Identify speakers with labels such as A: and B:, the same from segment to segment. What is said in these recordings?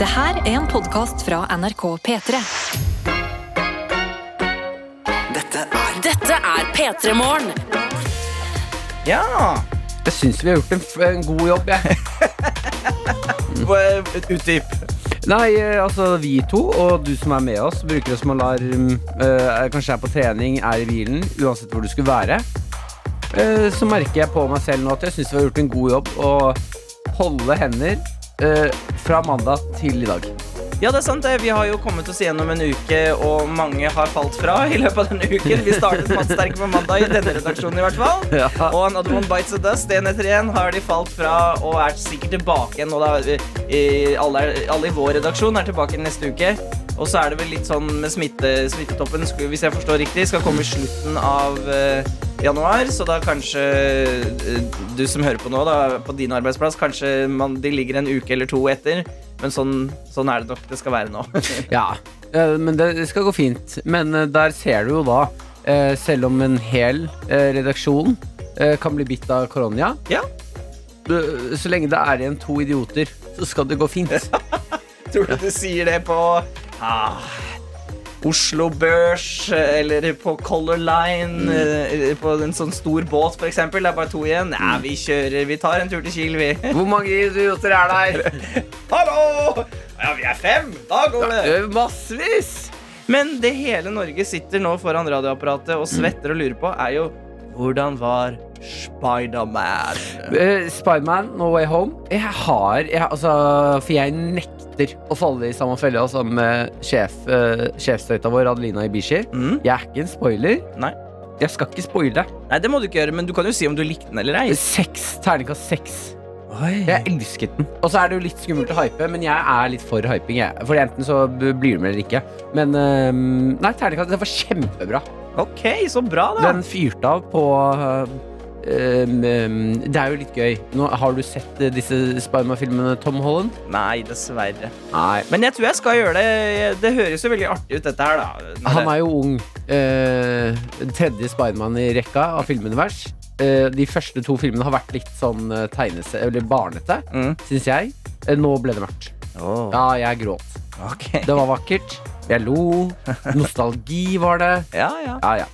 A: Det her er en podkast fra NRK P3.
B: Dette er
C: Dette er P3 Morgen.
B: Ja!
D: Jeg syns vi har gjort en, f en god jobb, jeg.
B: Hva- Utdyp.
D: Nei, eh, altså vi to og du som er med oss, bruker oss som alarm. eh, kanskje er på trening, er i bilen, uansett hvor du skulle være. Eh, så merker jeg på meg selv nå at jeg syns vi har gjort en god jobb å holde hender eh, fra mandag til i dag.
B: Ja, det er sant. det. Vi har jo kommet oss gjennom en uke, og mange har falt fra i løpet av denne uken. Vi startet matsterke på mandag i denne redaksjonen i hvert fall.
D: Ja.
B: Og Another One Bites of Dust, en etter en, har de falt fra og er sikkert tilbake igjen. nå da, i, alle, er- alle i vår redaksjon er tilbake neste uke. Og så er det vel litt sånn med smitte, smittetoppen, sk- hvis jeg forstår riktig, skal komme i slutten av eh, januar. Så da kanskje eh, du som hører på nå, da, på din arbeidsplass, kanskje man, de ligger en uke eller to etter. Men sånn, sånn er det nok det skal være nå.
D: Ja, eh, men det det skal gå fint. Men eh, der ser du jo da, eh, selv om en hel eh, redaksjon eh, kan bli bitt av koronia
B: Ja.
D: du- Så lenge det er igjen to idioter, så skal det gå fint.
B: Tror du du sier det på ah, Oslo Børs eller på Color Line eh, på en sånn stor båt for eksempel, det er bare to igjen. Nei, vi kjører, vi tar en tur til Kiel, vi.
D: Hvor mange idioter er der?
B: Hallo! Ja, vi er fem. Da går det.
D: Eh, Massevis!
B: Men det hele Norge sitter nå foran radioapparatet og svetter og lurer på, er jo hvordan var Spiderman?
D: Eh, Spiderman, No Way Home. Jeg har jeg, Altså, for jeg nekter å falle i samme felle som eh, sjef, eh, sjefsstøyta vår, Adelina Ibishi.
B: Mm?
D: Jeg er ikke en spoiler.
B: Nei.
D: Jeg skal ikke spoile.
B: Nei, det må du ikke gjøre, men du kan jo si om du likte den eller ei.
D: Seks. Terningkast seks.
B: Oi.
D: Jeg elsket den. Og så er det jo litt skummelt å hype, men jeg er litt for hyping. Jeg. For enten så b- blir du med eller ikke. Men øhm, nei, terningkast den var kjempebra.
B: Ok, så bra, da.
D: Den fyrte av på øhm, øhm, Det er jo litt gøy. Nå, har du sett eh, disse Spiderman-filmene, Tom Holland?
B: Nei, dessverre.
D: Nei.
B: Men jeg tror jeg skal gjøre det. Det høres jo veldig artig ut, dette her, da. Når
D: Han
B: det-
D: er jo ung. eh, Den tredje Spiderman i rekka av filmunivers. Eh, de første to filmene har vært litt sånn eh, tegnese... Eller barnete,
B: Mm.
D: syns jeg. Eh, nå ble det mørkt.
B: Ja.
D: Ja, jeg gråt.
B: Ok.
D: Det var vakkert. Jeg lo. Nostalgi var det.
B: Ja, ja.
D: Ja, ja.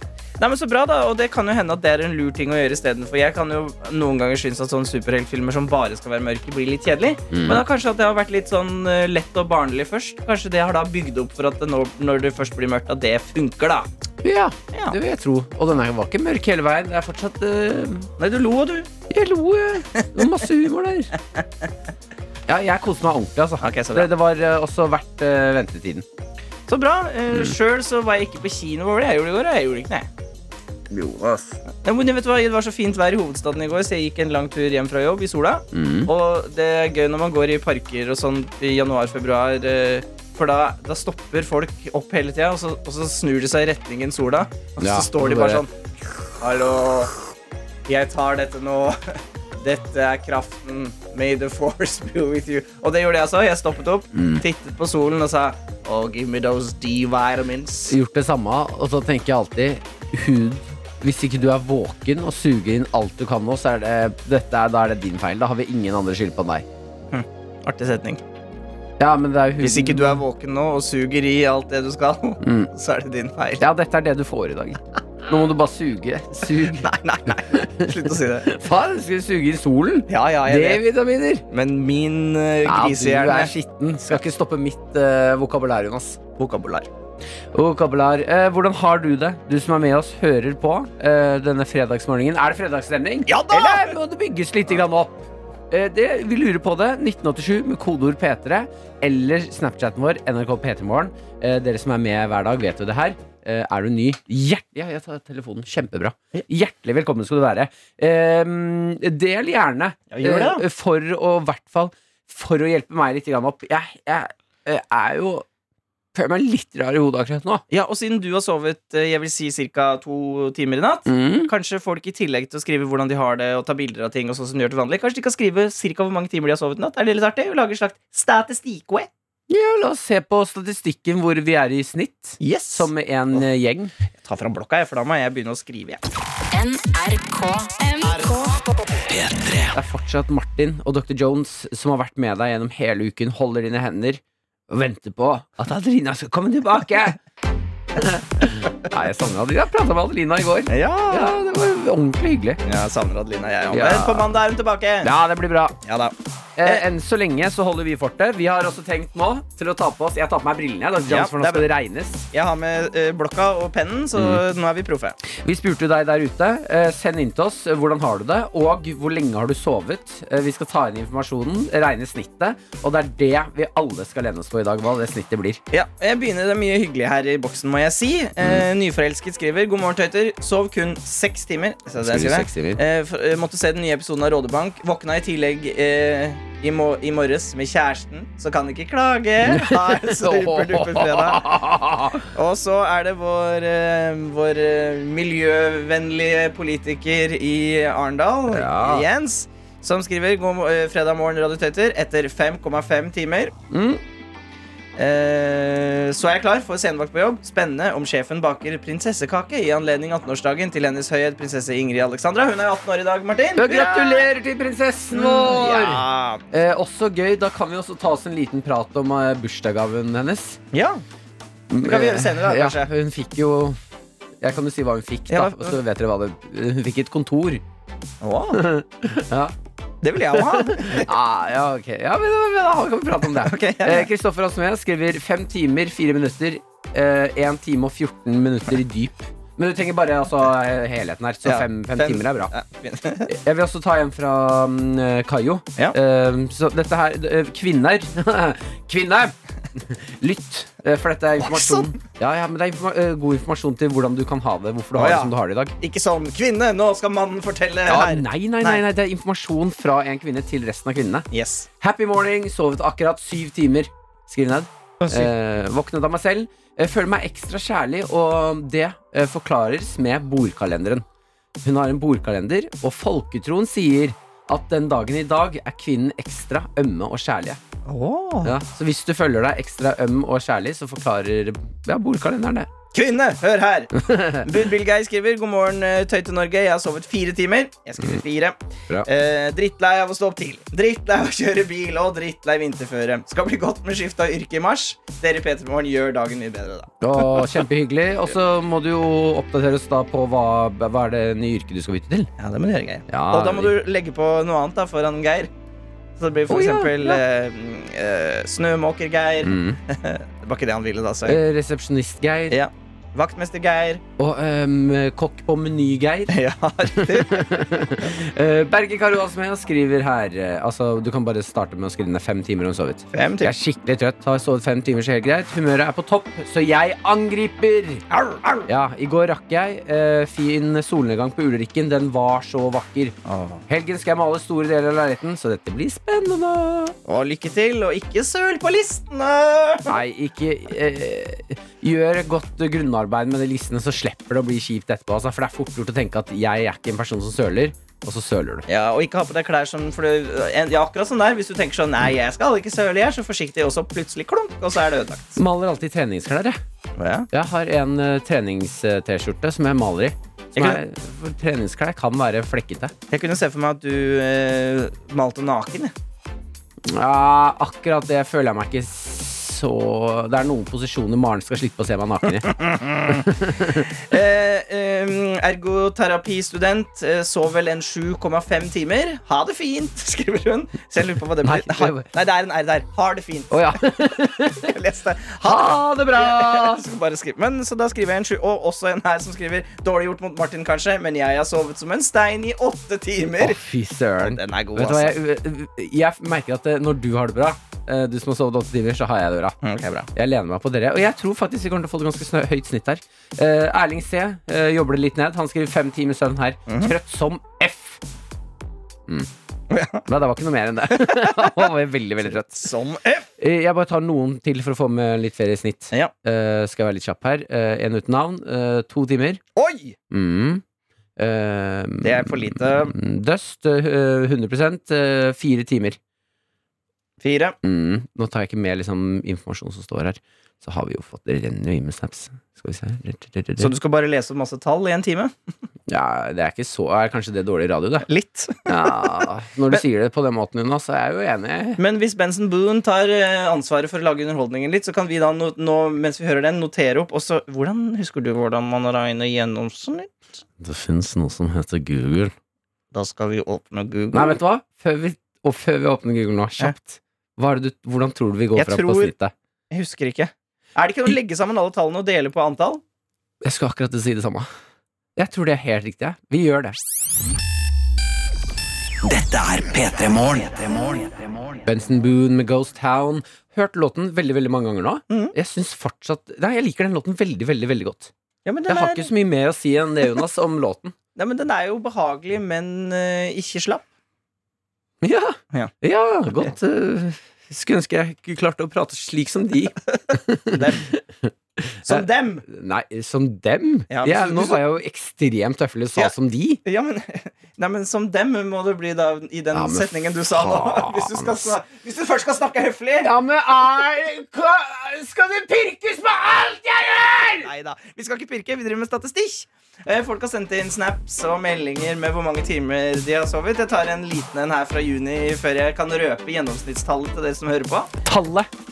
B: Nei, men Så bra, da. Og det kan jo hende at det er en lur ting å gjøre istedenfor. Jeg kan jo noen ganger synes at sånne superheltfilmer som bare skal være mørke, blir litt kjedelig.
D: Mm.
B: Men da kanskje at det har vært litt sånn eh, lett og barnlig først. Kanskje det har da bygd opp for at det når, når det først blir mørkt, at det funker, da.
D: ja
B: Ja.
D: det vil jeg tro. Og den her var ikke mørk hele veien. Det er fortsatt eh,
B: Nei, du lo, du.
D: Jeg lo, jeg. Det var masse humor der. Ja, jeg koste meg ordentlig, altså.
B: Ok, så bra.
D: det, det var eh, også verdt eh, ventetiden.
B: Så bra. Uh,
D: Mm.
B: Sjøl så var jeg ikke på kino. Hva var det jeg gjorde i går? Jeg gjorde ikke det.
D: Jo, ass.
B: Nei, men vet du hva, Det var så fint vær i hovedstaden i går, så jeg gikk en lang tur hjem fra jobb i sola.
D: Mm.
B: Og det er gøy når man går i parker og sånn i januar-februar, eh, for da, da stopper folk opp hele tida, og, så- og så snur de seg i retningen sola, og
D: Ja,
B: så står de
D: og
B: bare
D: bare-
B: sånn Hallo, jeg tar dette nå. Dette er kraften. May the force be with you. Og det gjorde jeg også. Jeg stoppet opp,
D: Mm.
B: tittet på solen og sa Oh, give me those D-vitamins.
D: Gjort det samme, og så tenker jeg alltid hud. Hvis ikke du er våken og suger inn alt du kan nå, så er det, dette er, da er det din feil. Da har vi ingen andre skyld på enn deg.
B: Artig setning.
D: Ja, men det er jo huden.
B: Hvis ikke du er våken nå og suger i alt det du skal, så er det din feil.
D: Mm. Ja, dette er det du får i dag. Nå må du bare suge. Sug.
B: Nei, nei, nei. Slutt å si det.
D: Faen, skal du suge i solen?
B: Ja, ja, jeg vet.
D: D-vitaminer.
B: Men min eh,
D: Ja, du
B: grisehjerne
D: er skitten. Skal ikke stoppe mitt eh, vokabular, Jonas.
B: Vokabular.
D: Vokabular. Eh, hvordan har du det? Du som er med oss, hører på eh, denne fredagsmorgenen. Er det fredagsstemning?
B: Ja da!
D: Eller må det bygges litt grann opp? Eh, det, vi lurer på det. 1987 med kodeord P3 eller Snapchaten vår NRK P3morgen. Eh, dere som er med hver dag, vet jo det her. Eh, er du ny? Hjert ja, jeg tar telefonen. Kjempebra. Hjertelig velkommen skal du være. Eh, del gjerne.
B: Ja, gjør det, da.
D: eh, for å i hvert fall For å hjelpe meg litt grann opp. Jeg, jeg, eh, er jo Føler meg litt rar i hodet akkurat nå.
B: Ja, og siden du har sovet eh, jeg vil si ca. to timer i natt Kanskje folk i tillegg til å skrive hvordan de har det og ta bilder av ting, og sånn som de gjør til vanlig Kanskje de kan skrive ca. hvor mange timer de har sovet i natt? Er det litt artig? Vi lager en slags statistikkwe.
D: Ja, la oss se på statistikken hvor vi er i snitt.
B: Yes.
D: Som en eh, gjeng.
B: Jeg tar fram blokka, jeg, for da må jeg begynne å skrive. Jeg.
C: NRK.
D: Det er fortsatt Martin og Dr. Jones som har vært med deg gjennom hele uken. Holder dine hender. og venter på at Adelina skal komme tilbake. Nei, jeg savner Adelina. Jeg prata med Adelina i går.
B: Ja,
D: Ja, Det var ordentlig hyggelig.
B: Jeg savner Adelina, jeg.
D: Ja.
B: Men på mandag er hun tilbake.
D: Ja, det blir bra.
B: Ja da.
D: Eh, enn så lenge så holder vi fortet. Vi har også tenkt nå til å ta på oss Jeg tar på meg brillene. jeg, Da,
B: Ja,
D: Jones, for nå
B: det er
D: skal det regnes.
B: Jeg har med eh, blokka og pennen, så nå er vi proffe.
D: Vi spurte jo deg der ute. Eh, send inn til oss eh, hvordan har du det, og hvor lenge har du sovet. Eh, vi skal ta inn informasjonen, regne snittet, og det er det vi alle skal lene oss på i dag. Hva det snittet blir.
B: Ja, jeg begynner det er mye hyggelig her i boksen, må jeg si. Eh,
D: Mm.
B: nyforelsket skriver God morgen, tøyter. Sov kun seks timer. Så det jeg
D: Skriver
B: skriver.
D: seks timer.
B: Eh, for, eh, måtte se den nye episoden av Rådebank. Våkna i tillegg eh, i, må i morges med kjæresten, så kan ikke klage. Ha en superduper-fredag. Og så er det vår, eh, vår eh, miljøvennlige politiker i Arendal,
D: Ja.
B: Jens, som skriver God mo- eh, fredag morgen, Radio Tøyter, etter 5,5 timer.
D: Mm.
B: Eh, Så er jeg klar for senvakt på jobb. Spennende om sjefen baker prinsessekake i anledning 18-årsdagen til Hennes Høyhet prinsesse Ingrid Alexandra. Hun er 18 år i dag, Martin.
D: Ja, Gratulerer til prinsessen vår!
B: Mm, Ja.
D: Eh, også gøy, Da kan vi også ta oss en liten prat om eh, bursdagsgaven hennes.
B: ja. Det kan vi gjøre senere, da,
D: Eh, ja,
B: kanskje.
D: Hun fikk jo Jeg kan jo si hva hun fikk, da.
B: Ja,
D: og så vet dere hva det Hun fikk et kontor.
B: Å,
D: Ja,
B: det vil jeg jo ha.
D: ah, ja ok. Ja, men, men, da kan vi prate om det.
B: Ok, ja, ja.
D: Eh, Kristoffer Asmé skriver 5 timer, 4 minutter. 1 time og 14 minutter i dyp. Men du trenger bare altså, eh, helheten her, så
B: Ja,
D: 5
B: fem-
D: timer er bra.
B: Ja, fint.
D: Jeg vil også ta en fra mm, eh, Kayo.
B: Ja.
D: Eh, så dette her eh, Kvinner. Kvinner! Lytt, eh, for dette er informasjon. Ja, ja, men det er informa eh, god informasjon til hvordan du kan ha det. Hvorfor
B: sånn.
D: du
B: Å,
D: har
B: ja.
D: det som du har det i dag.
B: Ikke sånn kvinne, nå skal mannen fortelle
D: Ja,
B: her.
D: nei, nei, nei, nei, det er informasjon fra en kvinne til resten av kvinnene.
B: Yes.
D: Happy morning, sovet akkurat syv timer. Skriv ned. Eh, våknet av meg selv. Eh, føler meg ekstra kjærlig, og det eh, forklares med bordkalenderen. Hun har en bordkalender, og folketroen sier at den dagen i dag er kvinnen ekstra ømme og kjærlig.
B: Åh.
D: Ja, så hvis du føler deg ekstra øm og kjærlig, så forklarer ja, bordkalenderen det.
B: Kvinne, hør her! Budbilgeir skriver God morgen, eh, Tøyte Norge. Jeg har sovet fire timer. Jeg skriver fire.
D: Bra.
B: Eh, drittlei av å stå opp tidlig. Drittlei av å kjøre bil og drittlei vinterføre. Skal bli godt med skift av yrke i mars. Dere i P3 Morgen gjør dagen mye bedre da.
D: Og kjempehyggelig. Og så må du jo oppdateres da på hva, hva er det nye yrket du skal bytte til.
B: Ja, det må du gjøre, Geir.
D: Ja,
B: og da må du legge på noe annet da foran Geir. Så det blir for
D: Å, ja,
B: eksempel
D: ja.
B: eh, mm, eh, Snømåker-Geir.
D: mm.
B: Det var ikke det han ville, da. Så.
D: eh, Resepsjonist-Geir.
B: Ja. Vaktmester-Geir.
D: Og ehm, kokk på meny-Geir.
B: Ja, riktig.
D: Eh, Berge Karuasmea skriver her eh, Altså, Du kan bare starte med å skrive ned fem timer om sovet.
B: Fem
D: Jeg
B: til.
D: er skikkelig trøtt, har sovet fem timer, så helt greit. Humøret er på topp, så jeg angriper!
B: Arr, arr.
D: Ja, I går rakk jeg. eh, fin solnedgang på Ulrikken. Den var så vakker. Helgen skal jeg male store deler av leiligheten, så dette blir spennende.
B: Og lykke til, og ikke søl på listene!
D: Nei, ikke eh, Gjør godt grunnarbeid med de listene, så slipper det å bli kjipt etterpå. Altså, for det er fort gjort å tenke at jeg er ikke en person som søler, og så søler du.
B: Ja, og ikke ha på deg klær som for det, en- Ja, akkurat sånn der. Hvis du tenker sånn Nei, jeg skal ikke søle, jeg er så forsiktig, og så plutselig klunk, og så er det ødelagt.
D: Maler alltid i treningsklær, jeg.
B: Ja.
D: Jeg har en eh, trenings-T-skjorte som jeg maler i. Som
B: Jeg
D: er, for treningsklær kan være flekkete.
B: Jeg kunne se for meg at du eh, malte naken. jeg.
D: Ja, akkurat det føler jeg meg ikke så Det er noen posisjoner Maren skal slippe å se meg naken i.
B: Eh, eh, ergoterapistudent. Eh, sov vel en 7,5 timer. Ha det fint, skriver hun. Så jeg lurer på hva det
D: Nei,
B: betyr. Ha,
D: det-
B: nei, det er en R der. Har det fint.
D: Å ja.
B: Jeg leste det.
D: Ha
B: Ha det.
D: det bra!
B: Jeg skal bare skrive. Men så da skriver jeg en 7, og også en her som skriver Dårlig gjort mot Martin, kanskje, men jeg har sovet som en stein i åtte
D: Å,
B: timer.
D: fy søren.
B: Den er god, altså.
D: Vet du hva, jeg, jeg merker at eh, når du har det bra, eh, du som har sovet åtte timer, så har jeg det bra.
B: Mm, ok, bra.
D: Jeg lener meg på dere. Og jeg tror faktisk vi kommer til å få det ganske snø høyt snitt her. Eh, Erling C eh, jobber det litt ned. Han skriver fem timer søvn her.
B: Mhm.
D: Trøtt som F. Mm. Nei, det var ikke noe mer enn det. Han var veldig, veldig trøtt.
B: Som F.
D: Eh, Jeg bare tar noen til for å få med litt ferie i snitt.
B: Ja.
D: Eh, skal jeg være litt kjapp her. Eh, en uten navn. eh, to timer.
B: Oi!
D: Mm. Eh,
B: Det er for lite.
D: Dust. eh, 100 eh, Fire timer.
B: Fire.
D: Mm. Nå tar jeg ikke med liksom, informasjon som står her. Så har vi jo fått Det renner jo inn med snaps. Skal vi se
B: Så du skal bare lese opp masse tall i en time?
D: Ja, det er ikke så er Kanskje det er dårlig radio, det.
E: Litt.
D: Ja, når du sier det på den måten, Jonas, så er jeg jo enig.
B: Men hvis Benson Boone tar eh, ansvaret for å lage underholdningen litt, så kan vi da no nå, mens vi hører den, notere opp. Og så, hvordan husker du hvordan man regner gjennomsnitt?
D: Det fins noe som heter Google.
B: Da skal vi åpne Google.
D: Nei, vet du hva? Før vi, og før vi åpner Google nå, kjapt. Hva er det du, hvordan tror du vi går
B: Jeg
D: fram på
B: tror-
D: snittet?
B: Jeg husker ikke. Er det ikke noe å legge sammen alle tallene og dele på antall?
D: Jeg skulle akkurat si det samme. Jeg tror det er helt riktig. jeg. Vi gjør det.
E: Dette er P3 Morgen.
D: Benson Boone med Ghost Town. Hørt låten veldig veldig mange ganger nå.
B: Mhm.
D: Jeg synes fortsatt Nei, jeg liker den låten veldig veldig, veldig godt.
B: Ja, men
D: Jeg
B: den,
D: har
B: er,
D: ikke så mye mer å si enn det, Jonas, om låten.
B: nei, men den er jo behagelig, men eh, ikke slapp.
D: Ja,
B: Ja.
D: ja godt eh, Skulle ønske jeg ikke klarte å prate slik som de
B: Dem. Som
D: Eh,
B: dem!
D: Nei, som dem?
B: Ja,
D: Ja,
B: men så-
D: nå var jeg jo ekstremt tøffelig og
B: Ja.
D: sa som de
B: Ja, men, nei, men som dem må det bli da i den
D: Ja, men
B: setningen du sa nå.
D: faen,
B: Hvis du, skal,
D: ass.
B: sna- hvis du først skal snakke høflig!
D: Ja, men Skal det pirkes på alt jeg gjør?!
B: Nei da. Vi skal ikke pirke, vi driver med statistikk. Eh, Folk har sendt inn snaps og meldinger med hvor mange timer de har sovet. Jeg tar en liten en her fra juni før jeg kan røpe gjennomsnittstallet til dere som hører på.
D: Tallet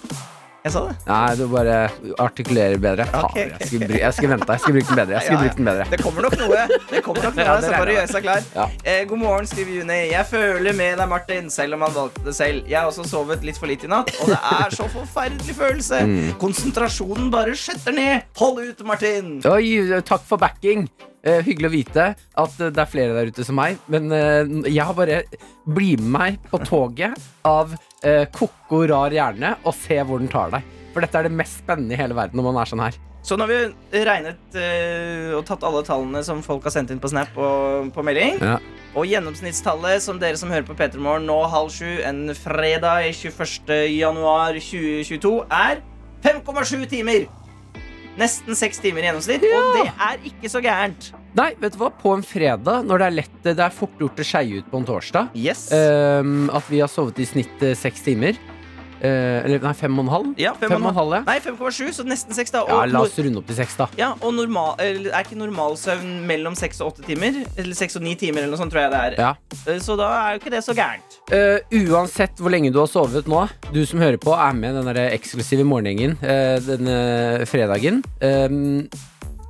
B: Jeg sa det.
D: Nei, du bare artikulerer bedre Faen,
B: Ok.
D: jeg, skulle bry, jeg skulle vente, jeg skulle bruke den bedre Jeg skulle
B: Ja, ja.
D: brukt den bedre
B: Det kommer nok noe. Det kommer nok noe,
D: Ja, det
B: Så
D: regner
B: bare
D: jeg
B: gjøre seg klar.
D: Ja.
B: Eh, god morgen, skriver Juni. Jeg føler med deg, Martin, selv om han valgte det selv. Jeg har også sovet litt for lite i natt, og det er så forferdelig følelse.
D: Mm.
B: Konsentrasjonen bare skjetter ned. Hold ut, Martin.
D: Oi, takk for backing. Eh, hyggelig å vite at eh, det er flere der ute som meg. Men eh, jeg har bare Bli med meg på toget av eh, koko rar hjerne og se hvor den tar deg. For dette er det mest spennende i hele verden når man er sånn her.
B: Så nå har vi regnet eh, og tatt alle tallene som folk har sendt inn på Snap og på melding.
D: Ja.
B: Og gjennomsnittstallet som dere som hører på P3 Morgen nå halv sju en fredag 21. januar 2022, er 5,7 timer. Nesten seks timer i gjennomsnitt, og det er ikke så gærent.
D: Nei, vet du hva? På en fredag, når det er lett Det er fort gjort å skeie ut på en torsdag,
B: Yes.
D: ehm, at vi har sovet i snitt eh, seks timer. Eh, eller nei, fem og en halv.
B: ja, fem og en halv.
D: halv, ja.
B: Nei, 5,7, så nesten seks, da. Og,
D: Ja, la
B: nor-
D: oss runde opp til seks, da.
B: ja, og normal, eller, er ikke normalsøvn mellom seks og åtte timer? Eller seks og ni timer, eller noe sånt, tror jeg det er.
D: Ja.
B: Eh, Så da er jo ikke det så gærent.
D: Eh, uansett hvor lenge du har sovet nå, du som hører på, er med i den der eksklusive morgengjengen eh, denne fredagen. Ehm,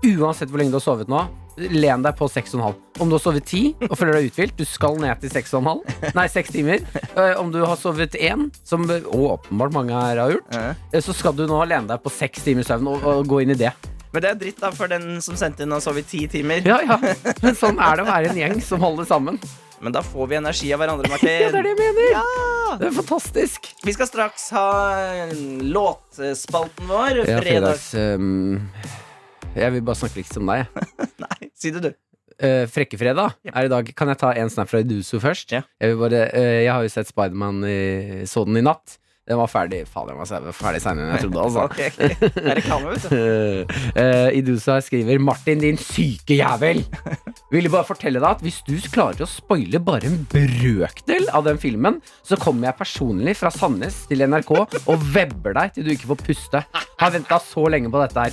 D: uansett hvor lenge du har sovet nå, len deg på 6,5. Om du har sovet 10 og føler deg uthvilt, du skal ned til 6,5. Nei, 6 timer. Eh, om du har sovet 1, som eh, åpenbart mange her har gjort,
B: Ja.
D: eh, så skal du nå lene deg på 6 timers søvn og, og gå inn i det.
B: Men det er dritt da for den som sendte inn og sov i ti timer.
D: Ja, ja. Men sånn er det å være en gjeng som holder sammen.
B: Men da får vi energi av hverandre,
D: Ja, det er
B: Martin.
D: det jeg mener.
B: Ja!
D: Det er fantastisk.
B: Vi skal straks ha eh, låtspalten vår.
D: Ja,
B: Fredags...
D: fredags ehm, Jeg vil bare snakke litt om deg. jeg.
B: Nei, si det, du.
D: Eh, Frekkefredag er i dag. Kan jeg ta en snap fra Iduso først?
B: Ja.
D: Jeg, vil bare, eh, jeg har jo sett Spiderman i- så den i natt. Den var ferdig Faen, den var sau- ferdig seinere enn jeg trodde. Altså.
B: Ok, ok. Det er reklame, vet du.
D: Eh, eh, Idusa skriver 'Martin, din syke jævel'. Ville bare fortelle deg at hvis du klarer å spoile bare en brøkdel av den filmen, så kommer jeg personlig fra Sandnes til NRK og webber deg til du ikke får puste. Har venta så lenge på dette her.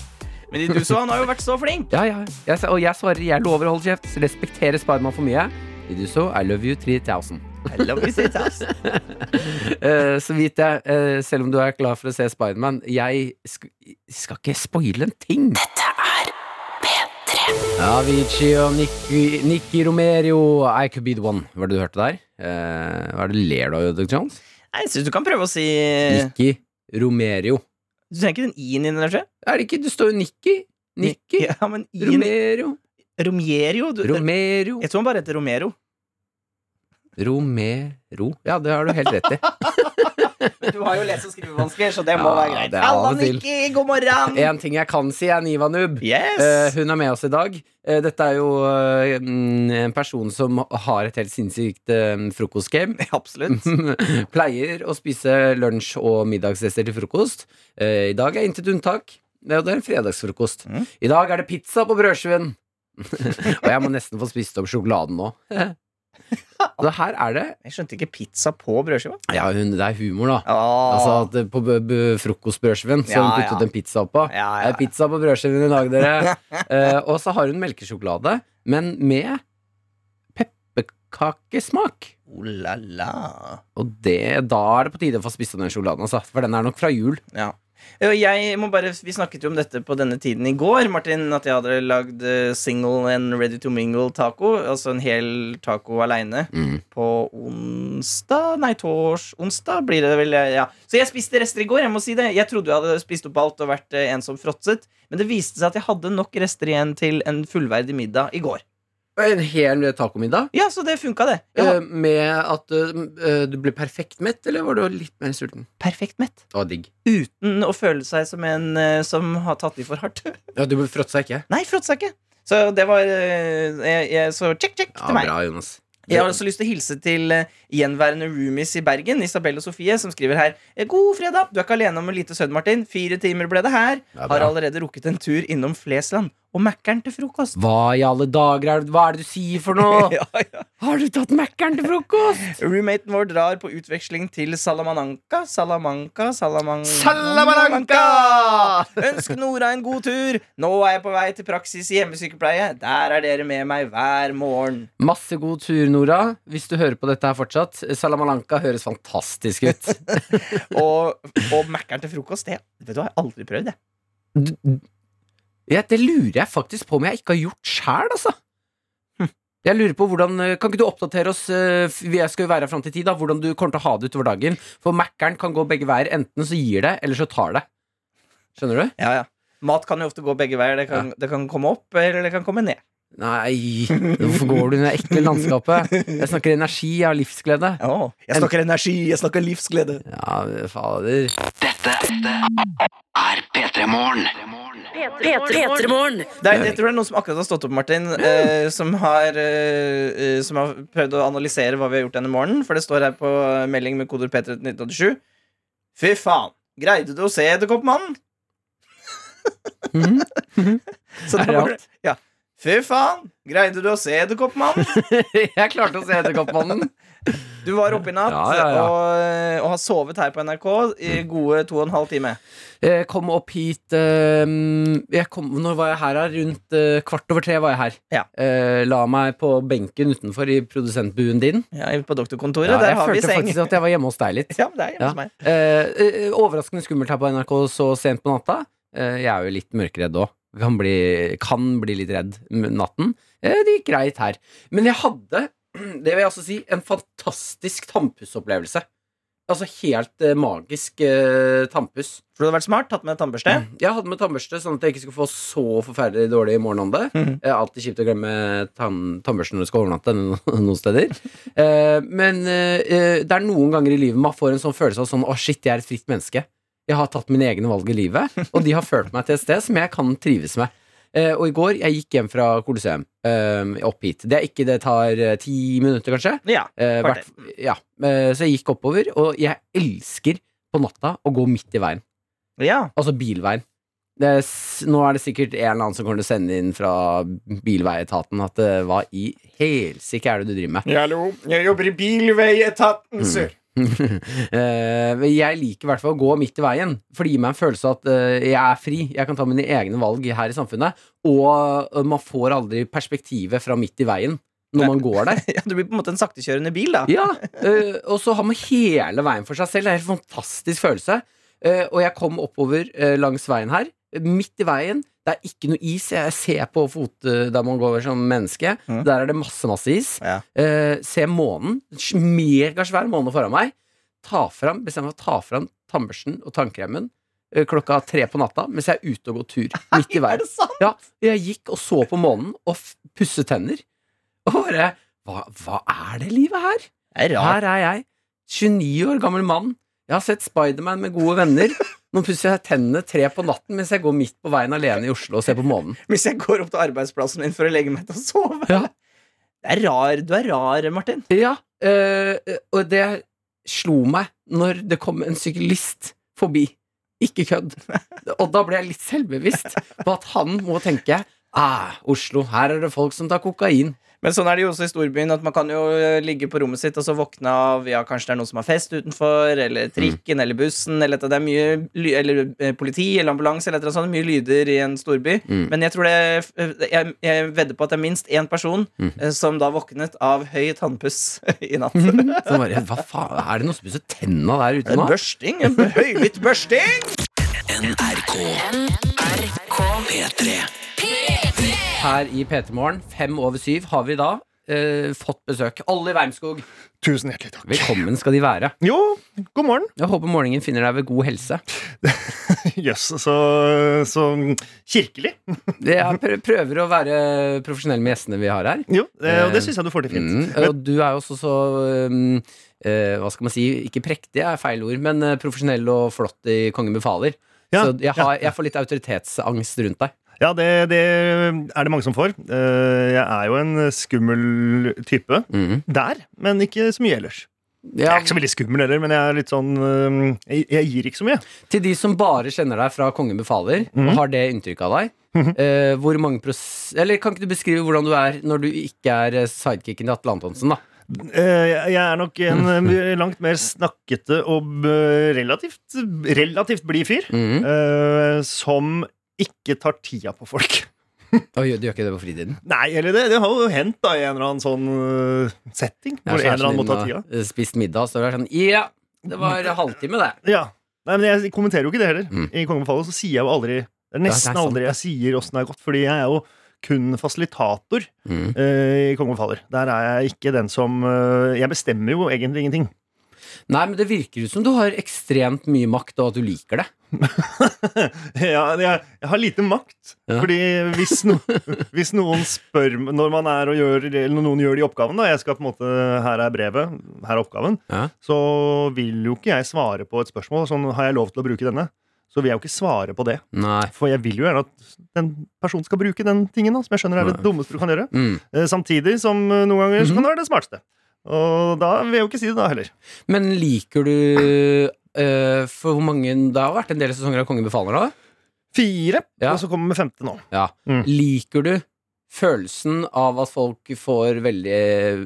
B: Men Iduso han har jo vært så flink.
D: Ja, ja. Jeg, sa- og jeg svarer jeg lover å holde kjeft. Respekterer Spiderman for mye. Did you so? I love you 3000.
B: I love you, sitt ass.
D: Eh, så vidt jeg, eh, selv om du er klar for å se Spiderman, jeg sk skal ikke spoile en ting. Dette er P3. Avicii og Nikki, Nikki Romerio, I could be the one. Hva er det du hørte der? Eh, hva er det du ler av, Doug Jones?
B: Nei, Jeg syns du kan prøve å si Eh.
D: Nikki Romerio.
B: Du trenger ikke den i-en inni der, tror jeg.
D: Er det ikke? Du står jo Nikki. Nikki.
B: Ja, men i-en
D: Romero.
B: Romero? Du,
D: Romero.
B: jeg tror han bare heter Romero.
D: Romero. Ja, det har du helt rett i.
B: Men du har jo lese- og skrivevansker, så det
D: må være greit.
B: Halla,
D: Halla,
B: Nikki! God morgen!
D: En ting jeg kan si, er Niva Nub. Eh,
B: Yes!
D: hun er med oss i dag. Eh, dette er jo eh, mm, en person som har et helt sinnssykt eh, frokostgame.
B: Absolutt.
D: Mhm. Pleier å spise lunsj- og middagsrester til frokost. Eh, I dag er intet unntak. Det er jo det er en fredagsfrokost.
B: Mm.
D: I dag er det pizza på brødskiven. og jeg må nesten få spist opp sjokoladen nå. Så her er det
B: Jeg skjønte ikke pizza på brødskiva.
D: Ja, hun, det er humor, da.
B: Ah.
D: Altså at eh, På b- b- frokostbrødskiven så har hun
B: Ja,
D: puttet
B: ja.
D: en pizza oppå.
B: Ja, ja,
D: Det er
B: ja.
D: Pizza på brødskiven i dag, dere. Eh, og så har hun melkesjokolade, men med pepperkakesmak.
B: Oh la la.
D: Og det, da er det på tide å få spist opp den sjokoladen, altså. For den er nok fra jul.
B: Ja. Og Jeg må bare, vi snakket jo om dette på denne tiden i går, Martin, at jeg hadde lagd eh, single and ready to mingle taco. Altså en hel taco aleine
D: Mm.
B: på onsdag. Nei, tors, onsdag blir det vel. ja Så jeg spiste rester i går. Jeg må si det Jeg trodde jeg hadde spist opp alt og vært eh, en som fråtset, men det viste seg at jeg hadde nok rester igjen til en fullverdig middag i går.
D: En hel tacomiddag.
B: Ja, så det funka, det. Jeg
D: eh,
B: var
D: Med at eh, du ble perfekt mett, eller var du litt mer sulten?
B: perfekt mett.
D: Det var digg.
B: Uten å føle seg som en eh, som har tatt i for hardt.
D: Ja, Du fråtsa ikke?
B: Nei, fråtsa ikke. Så det var eh, jeg, jeg, Så check, check
D: Ja,
B: til meg.
D: bra, Jonas.
B: Jeg har også lyst til å hilse til eh, gjenværende roomies i Bergen, Isabel og Sofie, som skriver her eh, God fredag! Du er ikke alene om en liten sønn, Martin. Fire timer ble det her.
D: Ja, bra.
B: har allerede rukket en tur innom Flesland og Mækkern til frokost.
D: Hva i alle dager er det Hva er det du sier for noe?
B: Ja, ja.
D: Har du tatt Mækkern til frokost?
B: Roommaten vår drar på utveksling til Salamanca. Salamanca, Salaman
D: Salamanca!
B: Ønsk Nora en god tur! Nå er jeg på vei til praksis i hjemmesykepleie. Der er dere med meg hver morgen.
D: Masse god tur, Nora. Hvis du hører på dette her fortsatt. Salamalanka høres fantastisk ut.
B: Og, og Mækkern til frokost, det vet du, har jeg aldri prøvd, jeg.
D: D- d- ja, det lurer jeg faktisk på om jeg ikke har gjort sjæl, altså. Jeg lurer på hvordan, eh, Kan ikke du oppdatere oss eh, f- vi skal jo være her frem til ti da, hvordan du kommer til å ha det utover dagen? For Mækkern kan gå begge veier. Enten så gir det, eller så tar det. Skjønner du?
B: Ja, ja. Mat kan jo ofte gå begge veier. Det kan, det kan komme opp, eller det kan komme ned.
D: Nei, hvorfor går du i det ekle landskapet? Jeg snakker energi, jeg har livsglede.
B: jeg snakker energi, jeg snakker livsglede.
D: Ja, fader.
E: Er P3 Morgen.
C: P3morgen.
B: Det, er, det tror jeg er noen som akkurat har stått opp, Martin, eh, som, har, eh, eh, som har prøvd å analysere hva vi har gjort denne morgenen. For det står her på eh, melding med koder P3 til 1987. Fy faen! Greide du å se Edderkoppmannen?
D: Mhm.
B: Så
D: Er det
B: da var
D: alt?
B: Ja. Fy faen! Greide du å se Edderkoppmannen?
D: Jeg klarte å se Edderkoppmannen.
B: Du var oppe i natt
D: Ja, ja, Mm. ja.
B: Og, og har sovet her på NRK i gode to og en halv time.
D: Jeg kom opp hit eh, jeg kom, Når var jeg her? da? Rundt eh, kvart over tre var jeg her.
B: Ja.
D: Eh, la meg på benken utenfor i produsentbuen din.
B: Ja, på doktorkontoret.
D: Ja,
B: der
D: jeg
B: har vi
D: følte
B: seng.
D: faktisk at jeg var hjemme hos deg litt.
B: Ja, men det er hjemme
D: Ja.
B: hos meg.
D: Eh, eh, overraskende skummelt her på NRK så sent på natta. Eh, jeg er jo litt mørkredd òg. Kan, bli- kan bli litt redd m- natten. Eh, det gikk greit her. Men jeg hadde, det vil jeg også si, en fantastisk tannpussopplevelse. Altså helt eh, magisk eh, tannpuss.
B: For du hadde vært smart, tatt med tannbørste.
D: Jeg hadde med tannbørste, sånn at jeg ikke skulle få så forferdelig dårlig morgenånde.
B: Mhm.
D: Eh, Alltid kjipt å glemme tann tannbørsten når du skal overnatte no- noen steder. Eh, Men eh, eh, det er noen ganger i livet man får en sånn følelse av sånn Å, shit, jeg er et fritt menneske. Jeg har tatt mine egne valg i livet, og de har ført meg til et sted som jeg kan trives med. Eh, Og i går, jeg gikk hjem fra Colosseum eh, opp hit. Det er ikke Det tar eh, ti minutter, kanskje.
B: Ja.
D: Eh,
B: Kvarter.
D: hvert- ja. Eh, Så jeg gikk oppover, og jeg elsker på natta å gå midt i veien.
B: ja.
D: Altså bilveien. Det er, s- nå er det sikkert en eller annen som kommer til å sende inn fra bilveietaten at eh, hva i helsike er det du driver med?
B: hallo. Jeg jobber i bilveietaten,
D: sir. Eh, men jeg liker i hvert fall å gå midt i veien, for det gir meg en følelse av at eh, jeg er fri. Jeg kan ta mine egne valg her i samfunnet, og eh, man får aldri perspektivet fra midt i veien når man går der.
B: Ja, du blir på en måte en saktekjørende bil, da.
D: Ja, eh, og så har man hele veien for seg selv. Det er en helt fantastisk følelse. Eh, og jeg kom oppover eh, langs veien her. Midt i veien. Det er ikke noe is. Jeg ser på fot eh, der man går som menneske.
B: Mhm.
D: Der er det masse, masse is.
B: Ja.
D: Eh, ser månen. Sj- Megasvær måne foran meg. Ta fram, Bestemmer meg for å ta fram tannbørsten og tannkremen eh, klokka tre på natta mens jeg er ute og går tur. Midt i veien.
B: Er det sant?
D: Ja, jeg gikk og så på månen og f- pusset tenner. Og bare hva, hva er det livet her?
B: Det er rart.
D: Her er jeg, 29 år gammel mann. Jeg har sett Spiderman med gode venner. Nå pusser jeg tennene tre på natten mens jeg går midt på veien alene i Oslo og ser på månen.
B: Hvis jeg går opp til arbeidsplassen min for å legge meg til å sove.
D: Ja.
B: Det er rar. Du er rar, Martin.
D: Ja, eh, og det slo meg når det kom en syklist forbi. Ikke kødd. Og da ble jeg litt selvbevisst på at han må tenke Ah, Oslo, her er det folk som tar kokain.
B: Men sånn er det jo også i storbyen, at man kan jo eh, ligge på rommet sitt og så våkne av ja, kanskje det er noen som har fest utenfor, eller
D: Mm.
B: trikken, eller bussen, eller at det er mye ly eller eh, politi eller ambulanse, eller et eller annet sånt. Mye lyder i en storby.
D: Mm.
B: Men jeg tror det eh, jeg, jeg vedder på at det er minst én person
D: Mm.
B: eh, som da våknet av høy tannpuss i natt.
D: Så jeg bare, hva faen, Er det noen som pusser tenna der ute nå?
B: Børsting? en Høylytt børsting!
E: NRK P3
D: Her i PT Morgen, fem over syv, har vi da eh, fått besøk. Olli Wermskog,
F: Tusen hjertelig takk.
D: velkommen skal de være.
F: Jo, god morgen.
D: Jeg håper morgenen finner deg ved god helse.
F: Jøss, så, så kirkelig.
D: Jeg prø- prøver å være profesjonell med gjestene vi har her.
F: Jo, eh, og det syns jeg du får til fint.
D: Mm, og du er jo også så um, eh, Hva skal man si? Ikke prektig er feil ord, men eh, profesjonell og flott i Kongen befaler.
F: Ja,
D: så jeg, har, jeg får litt autoritetsangst rundt deg.
F: Ja, det, det er det mange som får. Eh, Jeg er jo en skummel type
D: Mhm.
F: der, men ikke så mye ellers. Jeg
D: Ja,
F: Mm. er ikke så veldig skummel heller, men jeg er litt sånn eh, Jeg, jeg gir ikke så Mm. mye.
D: til de som bare kjenner deg fra Kongen befaler, og har det inntrykket av deg
F: Mm-hmm.
D: eh, Hvor mange pros... Eller kan ikke du beskrive hvordan du er når du ikke er eh, sidekicken til Atle Antonsen, da?
F: Eh, Jeg jeg er nok en
D: Mm.
F: eh, langt mer snakkete og eh, relativt, relativt blid fyr.
D: Mhm.
F: eh, Som ikke tar tida på folk.
D: Oi, du gjør ikke det på fritiden?
F: Nei, eller det, det har jo hendt da i en eller annen sånn øh, setting.
D: Jeg er
F: Hvor en eller
D: kjæresten
F: annen må
D: din
F: ta
D: og,
F: tida. Mm.
D: eh, Spist middag, så er det sånn Ja, det var halvtime, det.
F: Ja. Nei, men jeg kommenterer jo ikke det heller.
D: Mm.
F: I Kongen befaler så sier jeg jo aldri Det er
D: det er
F: nesten
D: sant,
F: aldri jeg sier åssen det har gått, fordi jeg er jo kun fasilitator
D: Mm.
F: øh, i Kongen befaler. Der er jeg ikke den som øh, Jeg bestemmer jo egentlig ingenting.
D: Nei, men det virker ut som du har ekstremt mye makt, og at du liker det.
F: ja, jeg, jeg har lite makt.
D: Ja.
F: Fordi hvis, no, hvis noen spør meg- når man er og gjør, eller når noen gjør de oppgavene, og jeg skal på en måte Her er brevet, her er oppgaven,
D: Ja.
F: så vil jo ikke jeg svare på et spørsmål sånn Har jeg lov til å bruke denne? Så vil jeg jo ikke svare på det.
D: Nei.
F: For jeg vil jo gjerne at den personen skal bruke den tingen, da, som jeg skjønner er det dummeste du kan gjøre.
D: Mm.
F: Eh, Samtidig som eh, noen ganger
D: Mhm.
F: så kan det være det smarteste. Og da vil jeg jo ikke si det, da heller.
D: Men liker du eh, For hvor mange Det har vært en del sesonger av Kongen befaler, da.
F: Fire,
D: Ja.
F: og så kommer vi med femte nå.
D: Ja.
F: Mm.
D: Liker du følelsen av at folk får veldig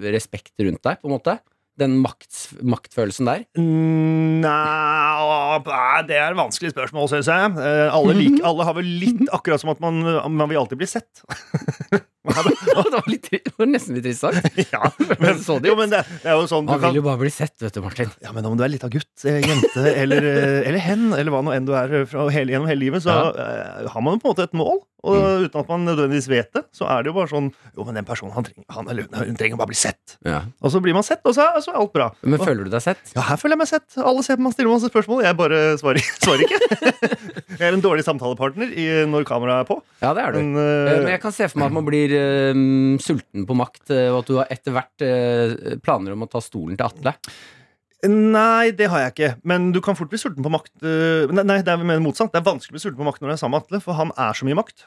D: eh, respekt rundt deg, på en måte? Den makts, maktfølelsen der?
F: Mm, Nei, nei, det er et vanskelig spørsmål, syns jeg. Eh,
D: Mhm.
F: Alle, lik, alle har vel litt akkurat som at man, man vil alltid bli sett.
D: det, var litt, tri- det var nesten litt trist sagt.
F: ja,
D: Men så dypt.
F: jo, men det, det er jo sånn du
D: Man
F: kan,
D: vil jo bare bli sett, vet du, Martin.
F: ja, men om du er lita gutt, eh, jente eller, eh, eller hen, eller hva nå enn du er eh, fra hele, gjennom hele livet, så eh, har man jo på en måte et mål. Og
D: Mm.
F: uten at man nødvendigvis vet det, så er det jo bare sånn Jo, men den personen, han trenger, han, eller, hun trenger bare bli sett. Og så blir man sett, og så er, så er alt bra.
D: Men
F: Og-
D: føler du deg sett?
F: ja, her føler jeg meg sett. Alle ser på meg og stiller masse spørsmål. Jeg bare svarer, svarer ikke. jeg er en dårlig samtalepartner i, når kameraet er på.
D: Ja, det er du.
F: Men,
D: Eh, Men
F: øh,
D: jeg kan se for meg at man blir eh, sulten på makt, eh, og at du har etter hvert eh, planer om å ta stolen til Atle.
F: nei, det har jeg ikke. Men du kan fort bli sulten på makt. øh, Nei, nei det er mer motsatt. Det er vanskelig å bli sulten på makt når du er sammen med Atle, for han er så mye makt.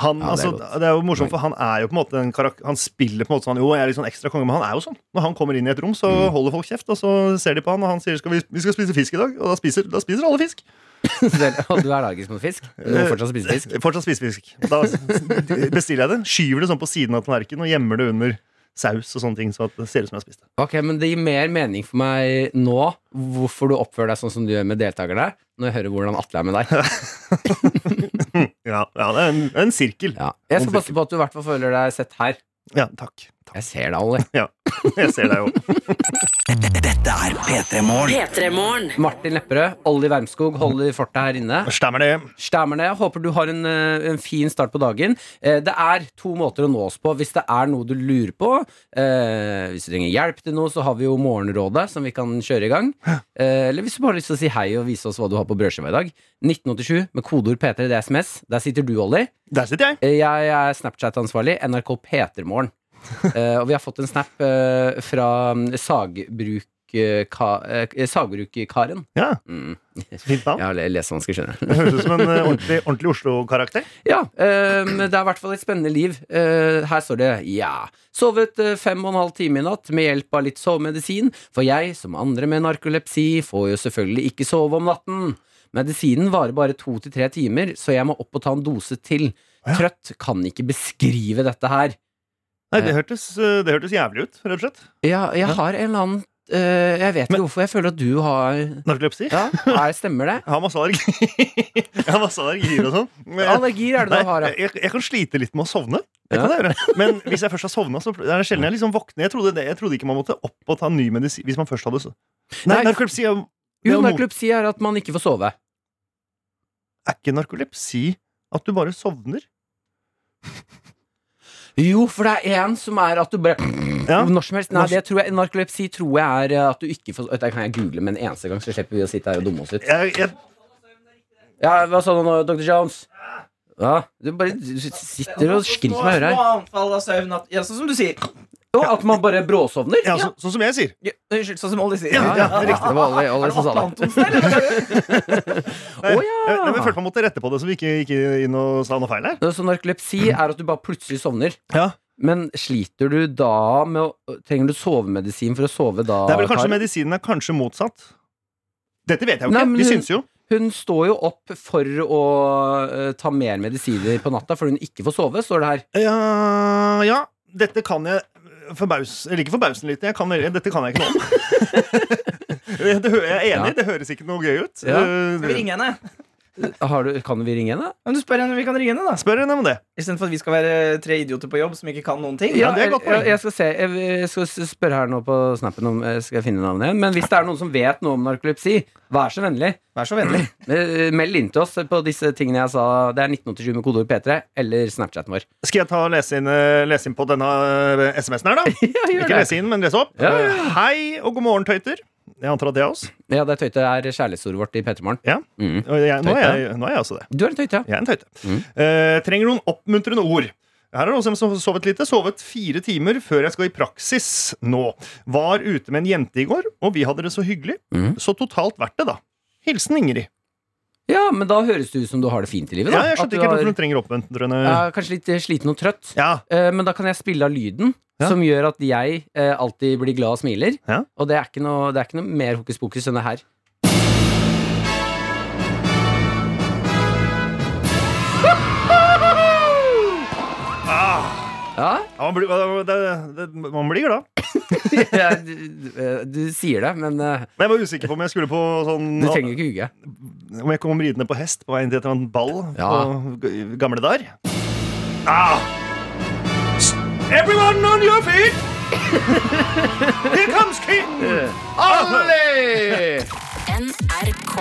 F: Han,
D: Ja, det er
F: altså,
D: godt.
F: det er jo morsomt, for han er jo på en måte en karak Han spiller på en måte sånn Jo, jeg er litt sånn ekstra konge, men han er jo sånn. Når han kommer inn i et rom, så
D: Mm.
F: holder folk kjeft, og så ser de på han, og han sier skal vi, 'Vi skal spise fisk i dag', og da spiser, da spiser alle fisk.
D: Selv- Og du er allergisk mot fisk? Du må fortsatt spise fisk?
F: Eh, Fortsatt spisefisk. Da bestiller jeg det. Skyver det sånn på siden av tallerkenen og gjemmer det under saus og sånne ting. Så at det ser ut som jeg har spist det.
D: Ok, men Det gir mer mening for meg nå hvorfor du oppfører deg sånn som du gjør med deltakerne, når jeg hører hvordan Atle er med deg.
F: Ja, ja det er en, en sirkel.
D: Ja. Jeg skal passe på at du i hvert fall føler deg sett her.
F: Ja, takk. takk.
D: Jeg ser deg, Olli.
F: Ja, jeg ser deg jo.
E: Dette er P3 Morgen
C: P3-morgen.
D: Martin Lepperød, Olli Wermskog, hold i fortet her inne.
F: Stemmer det.
D: Stemmer det. Håper du har en, eh, en fin start på dagen. Eh, Det er to måter å nå oss på hvis det er noe du lurer på. Eh, Hvis du trenger hjelp til noe, så har vi jo Morgenrådet som vi kan kjøre i gang. Eh, Eller hvis du bare har lyst til å si hei og vise oss hva du har på brødskiva i dag. 1987 med kodeord P3, det er SMS. Der sitter du, Olli.
F: Der sitter jeg.
D: Eh, Jeg er Snapchat-ansvarlig. NRK P3morgen. Eh, Og vi har fått en snap eh, fra mm, sagbruk... eh, ka- eh, Sagbruk-karen.
F: Ja,
D: Mm.
F: så
D: Jeg
F: Fint navn.
D: har le- lesevansker, skjønner du.
F: Det høres ut som en eh, ordentlig, ordentlig Oslo-karakter.
D: Ja, eh, men det er i hvert fall et spennende liv. Eh, her står det ja. Sovet eh, fem og en halv time i natt med hjelp av litt sovemedisin, for jeg, som andre med narkolepsi, får jo selvfølgelig ikke sove om natten. Medisinen varer bare to til tre timer, så jeg må opp og ta en dose til. Trøtt kan ikke beskrive dette her.
F: Nei, det hørtes, eh, det hørtes jævlig ut, rett og slett.
D: Ja, jeg har en eller annen eh, Jeg vet ikke hvorfor jeg føler at du har
F: Narkolepsi.
D: Ja, er, stemmer det?
F: Jeg har masse allergier. Jeg har masse allergier og sånn. Men jeg-
D: Allergier er det du har,
F: Nei,
D: ja.
F: jeg, jeg kan slite litt med å sovne. Det
D: Ja.
F: kan jeg gjøre. Men hvis jeg først har sovna, så er det sjelden jeg liksom våkner. Jeg trodde, det, jeg trodde ikke man måtte opp og ta ny medisin hvis man først hadde so- Nei,
D: Nei.
F: narkolepsi er,
D: Jo,
F: det er, jo mot-
D: narkolepsi er at man ikke får sove.
F: er ikke narkolepsi at du bare sovner?
D: Jo, for det er en som er at du bare
F: Ja.
D: Når som helst. Nei,
F: Når-
D: det tror jeg, narkolepsi tror jeg er eh, at du ikke får Dette kan jeg google med en eneste gang, så slipper vi å sitte her og dumme oss ut.
F: Jeg, jeg,
D: Ja, hva sa du nå, Dr. Jones? Ja, du bare du sitter og skriker meg i øret her.
B: Små anfall av søvn. at- Ja, sånn som du sier.
D: Jo, at man bare bråsovner?
F: ja, så, sånn som jeg sier.
B: Ja, Unnskyld, sånn som Ollie sier.
D: Ja, ja, det er riktig. Det var sånn alle, alle som sa det. Å
F: Jeg, jeg, jeg
D: ja!
F: følte man måtte rette på det, så vi ikke gikk inn og sa noe feil her.
D: Så narkolepsi er at du bare plutselig sovner.
F: Ja.
D: Men sliter du da med å Trenger du sovemedisin for å sove da?
F: Det er vel kanskje
D: Kar?
F: medisinen er kanskje motsatt. Dette vet jeg jo
D: Nei,
F: ikke.
D: men
F: Vi
D: hun-
F: syns jo.
D: Hun står jo opp for å eh, ta mer medisiner på natta fordi hun ikke får sove, står det her.
F: Ja, ja. Dette kan jeg forbaus... Eller ikke forbausende lite. Jeg kan, dette kan jeg ikke noe om. det hø jeg er enig.
D: Ja.
F: Det høres ikke noe gøy ut.
D: Ja.
F: Eh,
B: Skal vi ringe henne?
D: Har du, kan vi ringe henne?
B: Men du spør henne om vi kan ringe henne, da.
F: Spør henne om det.
B: Istedenfor at vi skal være tre idioter på jobb som ikke kan noen ting.
F: Ja, det er et godt poeng.
D: jeg, jeg skal se. Jeg, jeg skal s- spørre her nå på snappen om eh, Skal jeg finne navnet igjen. Men hvis det er noen som vet noe om narkolepsi, vær så vennlig.
B: Vær så vennlig.
D: Eh, Meld inn til oss på disse tingene jeg sa. Det er 1987 med kodeord P3 eller Snapchaten vår.
F: Skal jeg ta og lese inn, eh, lese inn på denne eh, SMS-en her, da?
D: Ja, gjør
F: Ikke
D: det.
F: lese inn, men lese opp.
D: Ja, ja,
F: Eh, Hei og god morgen, tøyter. Jeg antar at det er oss.
D: Ja, det er tøyte er kjærlighetsordet vårt i P3 Morgen.
F: Ja.
D: Mm.
F: Og jeg, nå, er
D: Tøyte?
F: jeg, nå er jeg også det.
D: Du er en tøyte, ja.
F: Jeg er en tøyte.
D: Mm.
F: Eh, trenger noen oppmuntrende ord. Her er det noen som har sovet lite. Sovet fire timer før jeg skal i praksis nå. Var ute med en jente i går, og vi hadde det så hyggelig.
D: Mm.
F: Så totalt verdt det, da. Hilsen Ingrid.
D: Ja, men da høres det ut som du har det fint i livet. Da.
F: Ja,
D: At
F: jeg
D: du
F: skjønte ikke helt
D: har-
F: hvorfor hun trenger oppmuntrende
D: Jeg er kanskje litt eh, sliten og trøtt,
F: Ja,
D: Eh, men da kan jeg spille av lyden.
F: Ja.
D: Som gjør at jeg eh, alltid blir glad og smiler.
F: Ja.
D: Og det er, ikke noe, det er ikke noe mer hokus pokus enn det her. Ja,
F: ja man, blir, det, det, man blir glad.
D: ja du, eh, du sier det, men eh,
F: Men jeg var usikker på om jeg skulle på sånn
D: du trenger ikke hugge.
F: Om jeg kom ridende på hest på vei inn til et eller annet ball
D: Ja.
F: på g- gamle dar. Ah. Everyone on your feet! Here comes king!
A: NRK.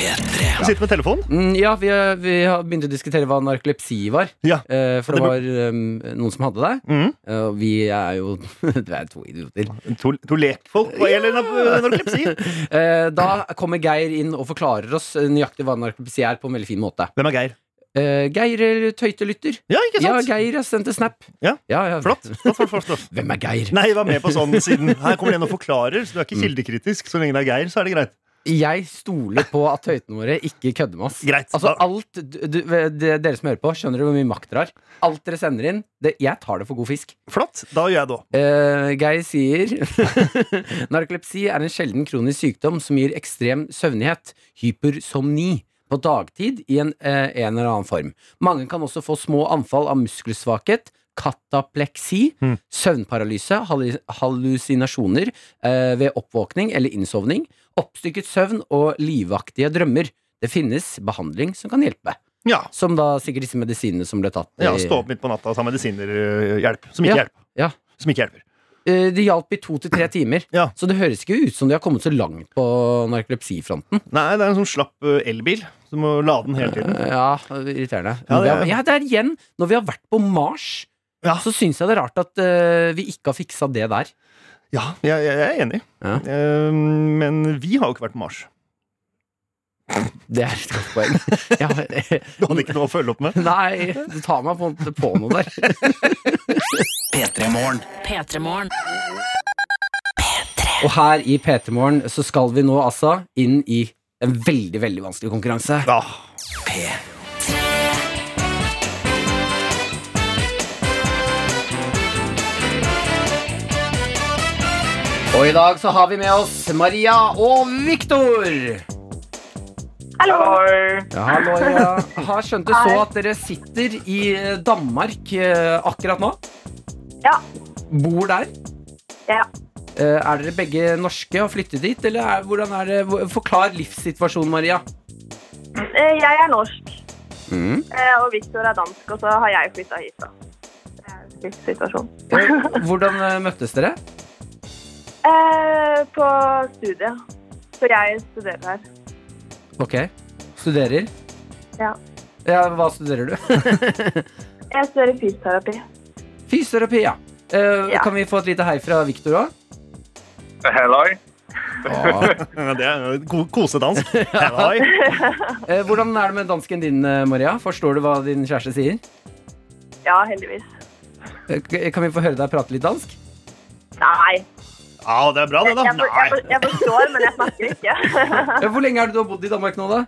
F: Jeg sitter med telefon.
D: Mm, ja, vi, eh, vi har begynt å diskutere hva narkolepsi var.
F: Ja.
D: Eh, for det
F: Det
D: var eh, noen som hadde det.
F: Mhm.
D: Eh, Og vi er jo Det er to idioter.
F: To, to lekfolk hva gjelder nar- narkolepsi.
D: Eh, da kommer Geir inn og forklarer oss eh, nøyaktig hva narkolepsi er, på en veldig fin måte.
F: Hvem er Geir?
D: Eh, Geir eh, Tøytelytter.
F: Ja, ikke
D: Ja,
F: sant?
D: Geir har sendt en snap.
F: Ja,
D: ja,
F: Flott. flott, flott, flott, flott.
D: Hvem er Geir?
F: Nei, jeg var med på sånn siden. Her kommer det en og forklarer, så du er ikke kildekritisk. Så lenge det er Geir, så er det greit.
D: Jeg stoler på at tøytene våre ikke kødder med oss.
F: Greit.
D: Altså
F: Da-
D: alt du, du, det, Dere som hører på, skjønner du hvor mye makt dere har? Alt dere sender inn, det, jeg tar det for god fisk.
F: Flott. Da gjør jeg det òg.
D: Eh, Geir sier Narkolepsi er en sjelden kronisk sykdom som gir ekstrem søvnighet, hypersomni, på dagtid i en, eh, en eller annen form. Mange kan også få små anfall av muskelsvakhet, katapleksi,
F: Mm.
D: søvnparalyse, hallu- hallusinasjoner eh, ved oppvåkning eller innsovning, oppstykket søvn og livaktige drømmer. Det finnes behandling som kan hjelpe.
F: Ja.
D: Som da sikkert disse medisinene som ble tatt.
F: ja.
D: i-
F: Stå opp midt på natta og ta medisiner. øh, Hjelp. Som ikke
D: Ja.
F: hjelper.
D: Ja.
F: Som ikke hjelper.
D: Eh, Det hjalp i to til tre timer.
F: Ja.
D: Så det høres ikke ut som de har kommet så langt på narkolepsifronten.
F: Nei, det er en sånn slapp øh, elbil. Du må lade den hele tiden.
D: Ja, irriterende. det,
F: Ja, det
D: er,
F: er-
D: ja, det er igjen, når vi har vært på Mars,
F: Ja.
D: så syns jeg det er rart at eh, vi ikke har fiksa det der.
F: Ja, jeg, jeg er enig.
D: Ja.
F: Eh, men vi har jo ikke vært på Mars.
D: Det er et godt poeng. Ja, eh,
F: Du hadde ikke noe å følge opp med.
D: nei, du tar meg på, på noe der.
E: P3-morgen.
C: P3morgen.
D: Og her i PT Morgen så skal vi nå altså inn i en veldig, veldig vanskelig konkurranse.
F: Ja.
D: Og i dag så har vi med oss Maria og Viktor. Ja, hallo, ja. Har skjønt det så at dere sitter i Danmark eh, akkurat nå?
G: Ja.
D: Bor der?
G: Ja.
D: Eh, Er dere begge norske og flyttet dit, eller er, hvordan er det hvor- Forklar livssituasjonen, Maria.
G: Eh, Jeg er norsk, eh, og Victor er dansk, og så har jeg flytta hit. da. Det er en slik situasjon.
D: Eh, Hvordan eh, møttes dere?
G: Eh, På studiet. Så jeg studerer her.
D: Ok. Studerer?
G: Ja.
D: Ja, Hva studerer du?
G: Jeg studerer fysioterapi.
D: Fysioterapi, ja. Eh,
G: Ja.
D: Kan vi få et lite hei fra Victor òg?
H: Halløy.
F: Ja, Det er jo ko- kosedansk. Halloi.
D: Eh, Hvordan er det med dansken din, eh, Maria? Forstår du hva din kjæreste sier?
G: Ja, heldigvis.
D: Eh, k- Kan vi få høre deg prate litt dansk?
G: Nei.
F: Ja, det er bra, det,
G: Jeg,
F: da.
G: jeg, for- jeg,
F: Nei.
G: for- jeg forstår, men jeg snakker ikke.
D: Eh, Hvor lenge er det du har bodd i Danmark nå, da?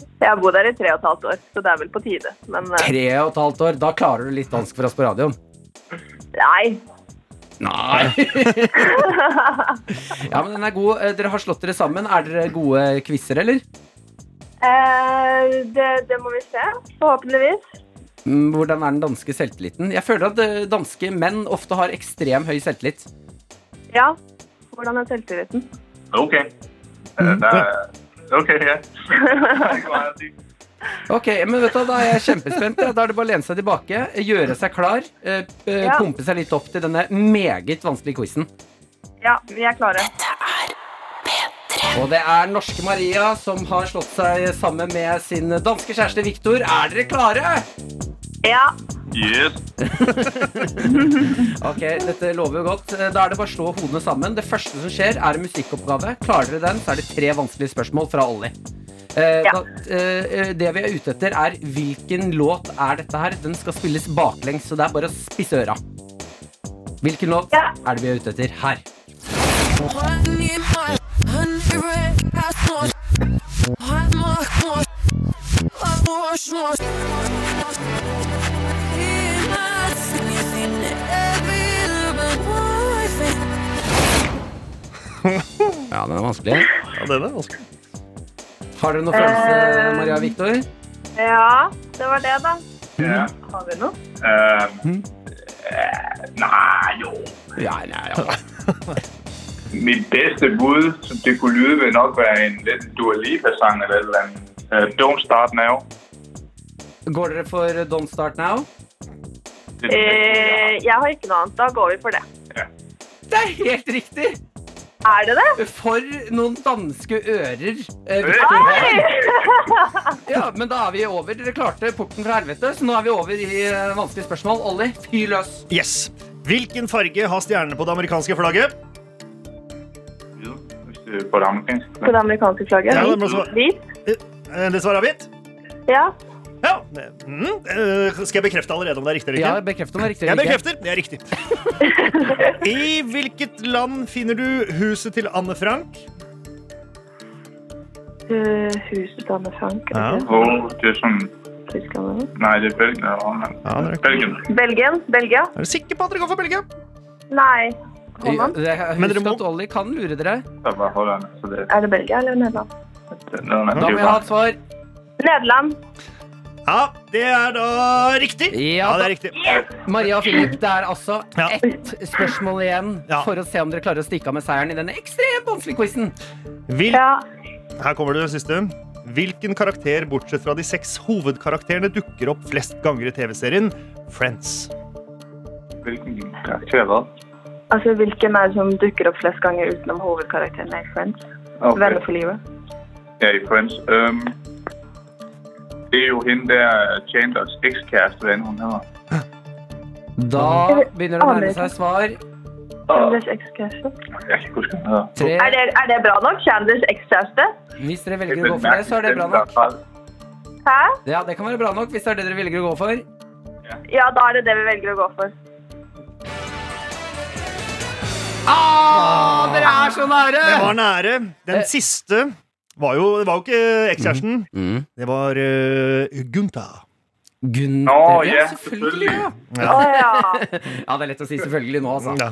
G: Jeg har bodd her i tre og et halvt år, så det er vel på tide. Men eh,
D: Tre og et halvt år. Da klarer du litt dansk for oss på radioen.
G: nei.
D: Nei! ja, men den er god. Eh, Dere har slått dere sammen. Er dere gode quizer, eller?
G: Eh, det, det må vi se, forhåpentligvis.
D: Mm, Hvordan er den danske selvtilliten? Jeg føler at eh, danske menn ofte har ekstrem høy selvtillit.
G: Ja. Hvordan er selvtilliten?
H: Ok. Eh, det er- Ok, ja.
D: Ok, men vet du, hva, Da er jeg kjempespent. ja. Da er det bare å lene seg tilbake, gjøre seg klar, eh, eh,
G: Ja.
D: pumpe seg litt opp til denne meget vanskelige quizen.
G: Ja, vi er klare.
D: Og det er norske Maria som har slått seg sammen med sin danske kjæreste Viktor. Er dere klare?
G: Ja.
H: Yes.
D: Ok, dette lover jo godt. Eh, Da er det bare å slå hodene sammen. Det første som skjer, er en musikkoppgave. Klarer dere den, så er det tre vanskelige spørsmål fra Olli. Eh,
G: Ja.
D: da, eh, det vi er ute etter, er hvilken låt er dette her? Den skal spilles baklengs, så det er bare å spisse øra. Hvilken låt
G: Ja.
D: er det vi er ute etter her? Ja, den er vanskelig.
F: Ja, det er det, altså.
D: Har dere noen følelse,
G: Eh.
D: Maria og Viktor?
G: Ja, det var det, da.
H: Ja.
G: Har vi noe?
H: Eh, eh, Nei, jo.
G: Eh.
D: Ja, nei, ja.
H: Mit bedste bud, som det kunne lyde, vil nok være en lidt Dua Lipa-sang eller et eller andet. Eh, Don't Start Now.
D: Går dere for Don't Start Now?
H: Det,
G: Eh, jeg har ikke noe annet. Da går vi for det.
D: Det er helt riktig!
G: Er det det?
D: For noen danske ører. eh,
G: Øh,
H: Øh,
D: Victor.
G: Oi!
D: Ja, men da er vi over. Dere klarte porten fra helvete, så nå er vi over i eh, vanskelige spørsmål. Olli, fyr løs.
F: Yes. Hvilken farge har stjernene på det amerikanske flagget?
H: Hvide, hvis det er på det amerikanske.
G: På det amerikanske flagget?
F: Ja, det må svare.
G: Hvit?
F: Eh, Det svarer hvitt.
G: Ja.
F: Ja. Mm. Eh, Skal jeg bekrefte allerede om det er riktig eller ikke?
D: bekreft om det er riktig.
F: Jeg bekrefter. Det er riktig. I hvilket land finner du huset til Anne Frank?
G: Uh, huset Anne Frank. er det
H: Åh, det er sådan...
G: det? Tyskland, eller?
H: Nej, det er Belgien eller Holland.
F: Ja, det er ikke-
H: Belgien.
G: Belgien? Belgia?
F: Er du sikker på at dere går for Belgia?
G: Nei. Holland?
F: Men dere
D: Husk
F: må-
D: at Olli kan lure dere.
H: Der var Holland, så det
F: eh,
G: Er det Belgia eller Nederland?
H: det er noget, man
D: Da må jeg ha et svar.
G: Nederland.
F: Ja, det er da riktig.
D: Ja,
F: det er riktig.
D: Maria og Philip, det er altså
F: Ja.
D: ett spørsmål igjen
F: Ja.
D: for å se om dere klarer å stikke av med seieren i denne ekstremt vanskelige quizen.
F: Hvil
G: Ja.
F: Her kommer det siste. Hvilken karakter, bortsett fra de seks hovedkarakterene, dukker opp flest ganger i TV-serien Friends?
H: Hvilken karakter hvad?
G: Altså, Hvilken er det som dukker opp flest ganger utenom hovedkarakteren i Friends?
H: Okay.
G: Venner for livet.
H: Ja, i Friends. Øhm, det er jo hende der, Chandlers ekskæreste, hvad end hun hedder.
D: Da begynner det å nærme seg svar.
H: Og
G: Chandlers ekskjæreste.
H: jeg kan ikke huske, hvad hun hedder.
D: Tre.
G: Er, det- er det bra nok? Chandlers ekskjæreste?
D: Hvis dere velger å gå for det, så er det bra nok.
G: Hæ?
D: Ja, det kan være bra nok hvis det er det dere velger å gå for.
G: Ja, da er det det vi velger å gå for.
D: Ah, dere er så nære!
F: Det var nære.
D: Eh.
F: Den siste var jo, det var jo ikke ekskjæresten.
D: Mm.
F: Det var uh, Gunther.
D: Gunther.
H: Nå,
D: ja,
H: ja,
D: selvfølgelig. Ja.
G: Å ja.
D: ja, det er lett å si selvfølgelig nå, altså.
F: Ja.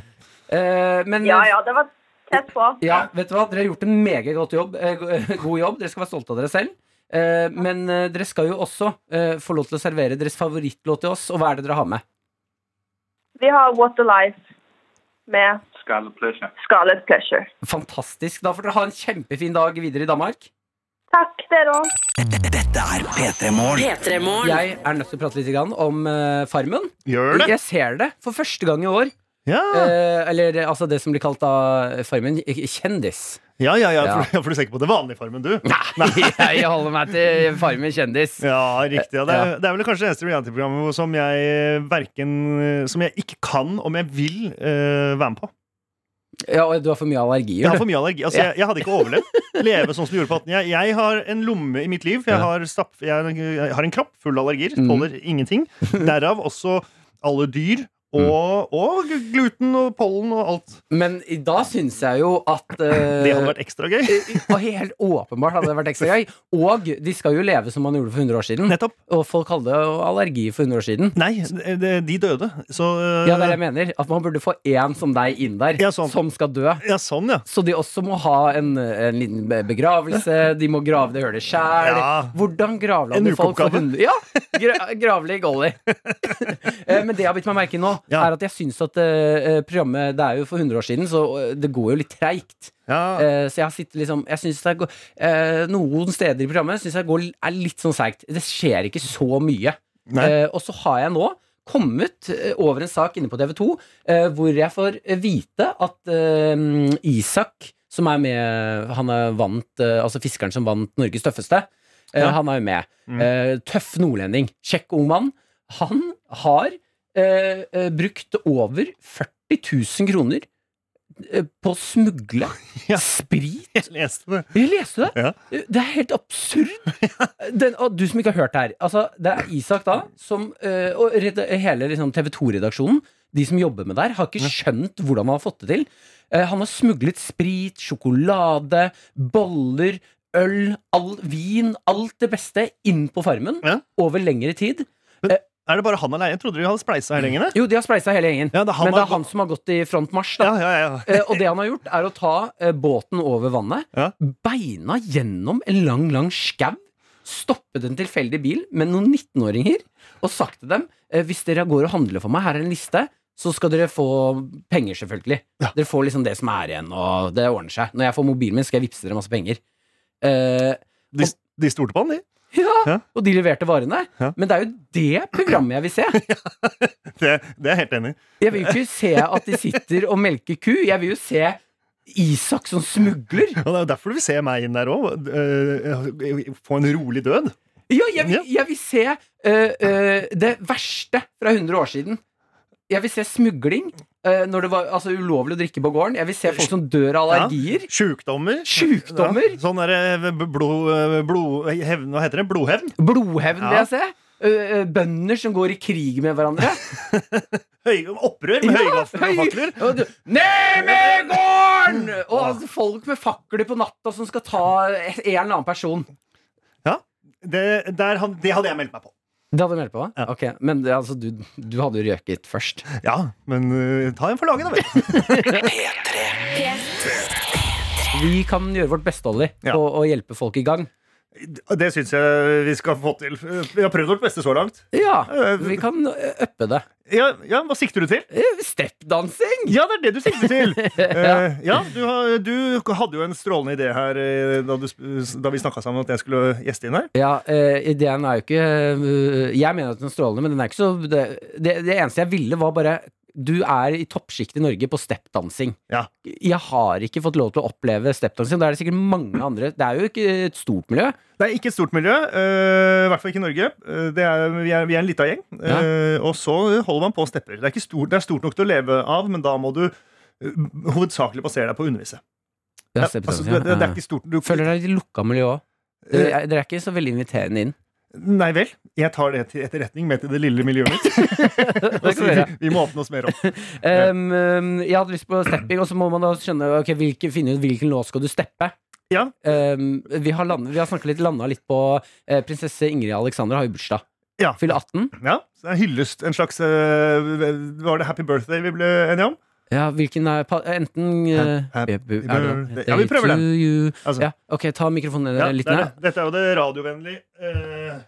D: Eh, men
G: Ja ja, det var tett på.
D: ja, vet du hva? Dere har gjort en meget godt jobb, eh, go- god jobb. Dere skal være stolte av dere selv. Eh, men eh, dere skal jo også eh, få lov til å servere deres favorittlåt til oss, og hva er det dere har med?
G: Vi har What a Life med
H: Scarlet Pleasure.
G: Scarlet Pleasure.
D: Fantastisk. Da får dere ha en kjempefin dag videre i Danmark.
G: Takk, dere òg.
E: Dette er P3 Morgen.
C: P3morgen.
D: Jeg er nødt til å prate litt grann om eh, Farmen.
F: Gjør det?
D: Jeg ser det for første gang i år.
F: Ja,
D: Eh, eller eh, altså det som blir kalt da Farmen k- kjendis.
F: ja, ja. ja,
D: ja.
F: for, for du ser ikke på det vanlige formen, du?
D: Jeg holder meg til Farmen kjendis.
F: Ja, riktig. Ja. Det, er,
D: Ja.
F: det er vel kanskje det eneste reality-programmet hvor- som jeg eh, verken Som jeg ikke kan, om jeg vil, eh, være med på.
D: Ja, og du har for mye allergier.
F: Jeg har
D: du.
F: for mye allergi. Altså, jeg, jeg hadde ikke overlevd. Leve sånn som du gjorde på 18. Jeg, jeg har en lomme i mitt liv. For jeg,
D: Ja.
F: har stapp, jeg, er en- jeg har en kropp full av allergier.
D: Mm.
F: Tåler ingenting. Derav også alle dyr. Og, og gluten og pollen og alt.
D: Men i- da syns jeg jo at eh,
F: Det hadde vært ekstra gøy.
D: Og helt åpenbart hadde det vært ekstra gøy. Og de skal jo leve som man gjorde for 100 år siden.
F: Nettopp.
D: Og folk hadde jo allergi for 100 år siden.
F: Nei, det- det- de døde. Så eh,
D: Ja, det er det jeg mener. At man burde få én som deg inn der,
F: Ja, sånn.
D: som skal dø.
F: ja, sånn, ja.
D: Så de også må ha en, en liten be- begravelse. De må grave det hølet sjæl.
F: Ja.
D: Hvordan gravlander
F: En
D: folk for 100
F: ukeoppgave.
D: Ja! Gra gravlig golly. Eh, Men det jeg har bitt meg merke i nå,
F: Ja.
D: er at jeg syns at eh, eh, programmet Det er jo for 100 år siden, så eh, det går jo litt treigt.
F: ja.
D: Eh, Så jeg har sittet liksom Jeg synes det går eh, Noen steder i programmet synes jeg går, er litt sånn seigt. Det skjer ikke så mye.
F: Nei.
D: Eh, Og så har jeg nå kommet eh, over en sak inne på TV2 eh, hvor jeg får vite at eh, Isak, som er med Han er vant eh, Altså fiskeren som vant Norges tøffeste, eh,
F: Ja.
D: han er jo med.
F: Mm.
D: Eh, Tøff nordlending. Kjekk ung mann. Han har eh, eh, brukt over 40 000 kroner eh, på å smugle
F: Ja.
D: sprit
F: Jeg leste det.
D: jeg leste det.
F: Ja.
D: Det er helt absurd. Den, og du som ikke har hørt det her. Altså, det er Isak da som eh, Og red- hele liksom, TV 2-redaksjonen, de som jobber med det her, har ikke skjønt hvordan han har fått det til. Eh, han har smuglet sprit, sjokolade, boller, øl, all, vin, alt det beste inn på Farmen
F: Ja.
D: over lengre tid.
F: Er det bare han alene? Jeg trodde de hadde spleisa hele gjengen. jeg.
D: Jo, de har spleisa hele gjengen.
F: Ja, det er han
D: Men det
F: har
D: er han som har gått i frontmarsj, da.
F: Ja, ja, ja.
D: Eh, og det han har gjort, er å ta eh, båten over vannet,
F: Ja.
D: beina gjennom en lang, lang skau, stoppet en tilfeldig bil med noen 19-åringer og sagt til dem eh, hvis dere går og handler for meg, her er en liste, så skal dere få penger, selvfølgelig. Dere får liksom det som er igjen, og det ordner seg. Når jeg får mobilen min, skal jeg vippse dere masse penger. Eh,
F: De, de stolte på han, de.
D: ja,
F: Ja.
D: Og de leverte varene.
F: Ja.
D: Men det er jo det programmet jeg vil se.
F: Det, det er jeg helt enig i.
D: Jeg vil jo ikke se at de sitter og melker ku. Jeg vil jo se Isak som smugler.
F: Og Det er jo derfor du vil se meg inn der òg. Få en rolig død.
D: Ja, jeg vil,
F: Ja.
D: jeg vil se eh, eh, det verste fra 100 år siden. Jeg vil se smugling, eh, når det var altså, ulovlig å drikke på gården. Jeg vil se folk som dør av allergier.
F: Sjukdommer.
D: Sjukdommer.
F: Ja, sånn derre blod, eh, blod hevn, Hva heter det? Blodhevn?
D: Blodhevn vil
F: Ja.
D: jeg se. Eh, eh, bønder som går i krig med hverandre.
F: Høy, opprør med høygafler og fakler?
D: Og du- Ned med gården! Og altså, folk med fakler på natta som skal ta en eller annen person.
F: Ja. Det, der, han- det hadde jeg meldt meg på.
D: Det hadde du meldt på?
F: Ja.
D: Ok, Men det- altså, du, du hadde jo røket først.
F: Ja, men eh, ta en for laget, da vel.
D: Vi kan gjøre vårt beste, Olli,
F: Ja.
D: på å hjelpe folk i gang.
F: Det syns jeg vi skal få til. Vi har prøvd vårt beste så langt.
D: Ja,
F: Eh,
D: vi kan eh, uppe det.
F: Ja, ja Hva sikter du til?
D: Eh, Steppdansing!
F: Ja, det er det du sikter til! Eh, ja, du, har, du hadde jo en strålende idé her eh, da, du, sp- da vi snakka sammen om at jeg skulle gjeste inn her.
D: Ja, eh, ideen er jo ikke eh, Jeg mener at den er strålende, men den er ikke så det, det, det eneste jeg ville, var bare Du er i toppsjiktet i Norge på steppdansing.
F: Ja.
D: Jeg har ikke fått lov til å oppleve steppdansing. Da er det sikkert mange andre Det er jo ikke et stort miljø.
F: Det er ikke et stort miljø. eh, I hvert fall ikke i Norge. Eh, det er, vi, er, vi er en lita gjeng. eh, og så holder man på og stepper. Det er, ikke stort, det er stort nok til å leve av, men da må du eh, hovedsakelig basere deg på å undervise.
D: Ja,
F: Det er- altså,
D: steppdansing,
F: det, det, det
D: ja.
F: er ikke Eh, stort du,
D: Føler dere i lukka miljø òg? Dere er- dere er ikke så veldig inviterende inn.
F: Nei vel. Jeg tar det til etterretning med til det lille miljøet mitt.
D: Det
F: Og
D: kan
F: sier
D: vi
F: vi,
D: gjøre.
F: vi må åpne oss mer opp.
D: Um, um, jeg hadde lyst på stepping, og så må man da skjønne ok, hvilke, finne ut hvilken låt skal du steppe.
F: Ja.
D: Um, vi har, landet, vi har snakket litt, landa litt på eh, prinsesse Ingrid Alexandra har jo bursdag.
F: Ja.
D: Fyller 18.
F: Ja, så det er hyllest. En slags eh, Var det Happy Birthday vi ble enige om?
D: Ja, hvilken er pa- Enten eh,
F: Happy
D: er det-
F: birthday Ja, vi prøver
D: to
F: den.
D: you.
F: Altså.
D: Ja, ok, ta mikrofonen ned
F: Ja,
D: litt
F: det er
D: nær.
F: det. Dette er jo det radiovennlige eh,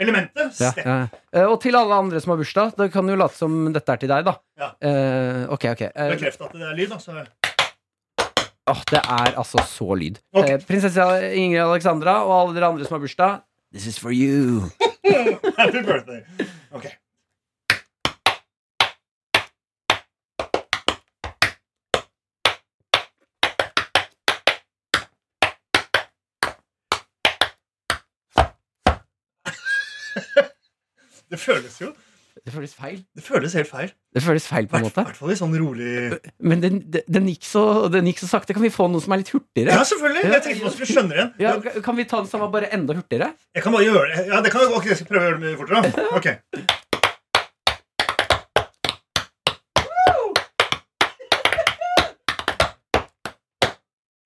F: elementet.
D: Ja,
F: Step.
D: ja. Eh, Og til alle andre som har bursdag, da kan du late som dette er til deg, da.
F: Ja.
D: Eh, ok, ok. Eh,
F: Bekreft at det er lyd, da. Så
D: åh, det er altså så lyd.
F: Ok.
D: Eh, prinsesse Ingrid Alexandra og alle dere andre som har bursdag,
E: This is for you.
F: happy birthday. Ok. Det føles jo
D: det føles feil.
F: Det føles helt feil.
D: Det føles feil på
F: I
D: en måte.
F: hvert fall i sånn rolig
D: Men den, den- den, gikk så, den gikk så sakte. Kan vi få noe som er litt
F: Ja,
D: hurtigere?
F: selvfølgelig!
D: Ja.
F: Jeg tenkte man skulle skjønne det igjen.
D: Ja, ka- kan vi ta den samme, bare enda hurtigere?
F: Jeg kan bare gjøre det. Ja, det kan, ok, jeg skal prøve å gjøre det mye fortere. da. Ok.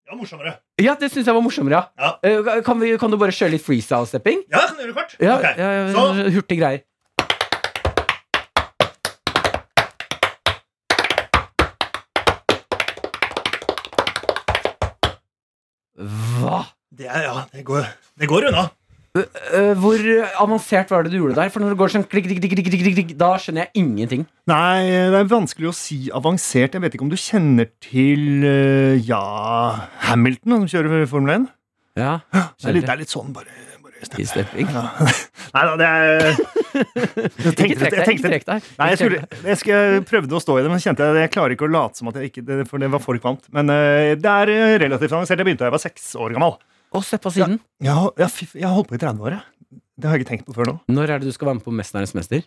F: Ja, morsommere.
D: Ja, det syns jeg var morsommere.
F: Ja.
D: Eh, ka- Kan, vi, kan du bare kjøre litt freestyle-stepping?
F: Ja, jeg kan gjøre det kort.
D: Ja,
F: Ok,
D: ja, ja,
F: Så,
D: hurtige greier. Hva?
F: det, er, ja, det, går, det går unna.
D: Eh, hvor avansert var det du gjorde der? For når det går sånn klikk, klikk, klikk, klikk, klikk, klikk, da skjønner jeg ingenting.
F: Nei, det er vanskelig å si avansert. Jeg vet ikke om du kjenner til eh, ja, Hamilton, som kjører Formel 1.
D: Ja,
F: Det er litt, det er litt sånn, bare, bare
D: i stepping.
F: Nei da, det er Jeg
D: Ikke
F: tenkte,
D: trekk
F: jeg
D: deg, ikke
F: tenkte
D: trekk deg.
F: Nei, jeg,
D: Ikke
F: skulle,
D: trekk deg.
F: jeg, skulle, jeg prøvde å stå i det, men så kjente jeg jeg klarer ikke å late som at jeg ikke det- For det var for kvalmt. Men eh, det er eh, relativt avansert. Jeg begynte da jeg var seks år gammel.
D: Og se på siden.
F: Jeg, har- jeg, fy- jeg har holdt på i 30 år, jeg. Det har jeg ikke tenkt på før nå.
D: Når er det du skal være med på Mesternes mester?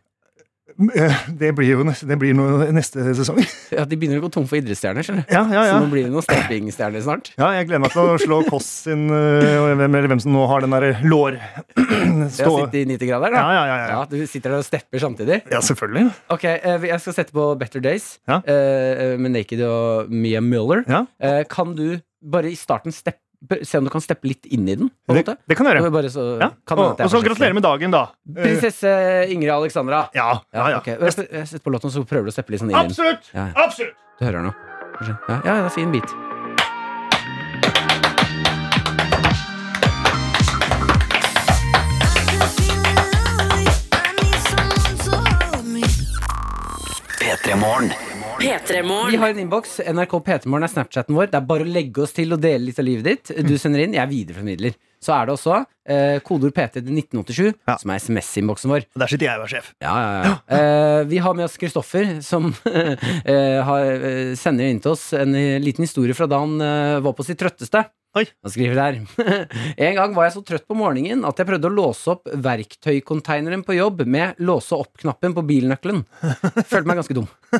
F: M- eh, Det blir jo neste, det blir noe, neste sesong.
D: Ja, De begynner å gå tom for idrettsstjerner, skjønner du.
F: Ja, ja,
D: Så
F: ja.
D: nå blir det noen steppingstjerner snart.
F: Ja, jeg gleder meg til å slå Kåss sin eh, hvem, eller hvem som nå har den derre lår...
D: Jeg
F: Stå
D: sitter i 90 grader, da.
F: ja, ja, ja, ja.
D: Ja, du sitter der og stepper samtidig.
F: Ja, selvfølgelig.
D: Ok, eh, jeg skal sette på Better Days
F: Ja.
D: eh, med Naked og Mia Miller.
F: Ja.
D: Eh, kan du bare i starten steppe, se om du kan steppe litt inn i den? På en
F: Det,
D: måte?
F: det kan jeg gjøre.
D: Bare så,
F: Ja.
D: kan
F: Og, og så gratulerer med dagen, da. Eh,
D: Prinsesse Ingrid Alexandra.
F: Ja, ja, ja.
D: ok. eh, Jeg, jeg setter på låten, så prøver du å steppe litt sånn inn i den.
F: Absolutt!
D: Ja, ja.
F: Absolutt!
D: Du hører den nå. Kanskje. Ja, ja, det er fin bit.
E: P3 Morgen.
C: P3 Morgen.
D: Vi har en innboks. NRK P3morgen er Snapchaten vår. Det er bare å legge oss til og dele litt av livet ditt. Du sender inn, jeg videreformidler. Så er det også eh, kodeord PT til 1987,
F: Ja.
D: som er SMS-innboksen vår.
F: Der sitter jeg og er sjef.
D: Ja, ja, ja. Eh, vi har med oss Kristoffer, som eh, har, eh, sender inn til oss en eh, liten historie fra da han eh, var på sitt trøtteste.
F: Oi.
D: Han skriver der. en gang var jeg så trøtt på morgenen at jeg prøvde å låse opp verktøykonteineren på jobb med låse opp-knappen på bilnøkkelen. Følte meg ganske dum.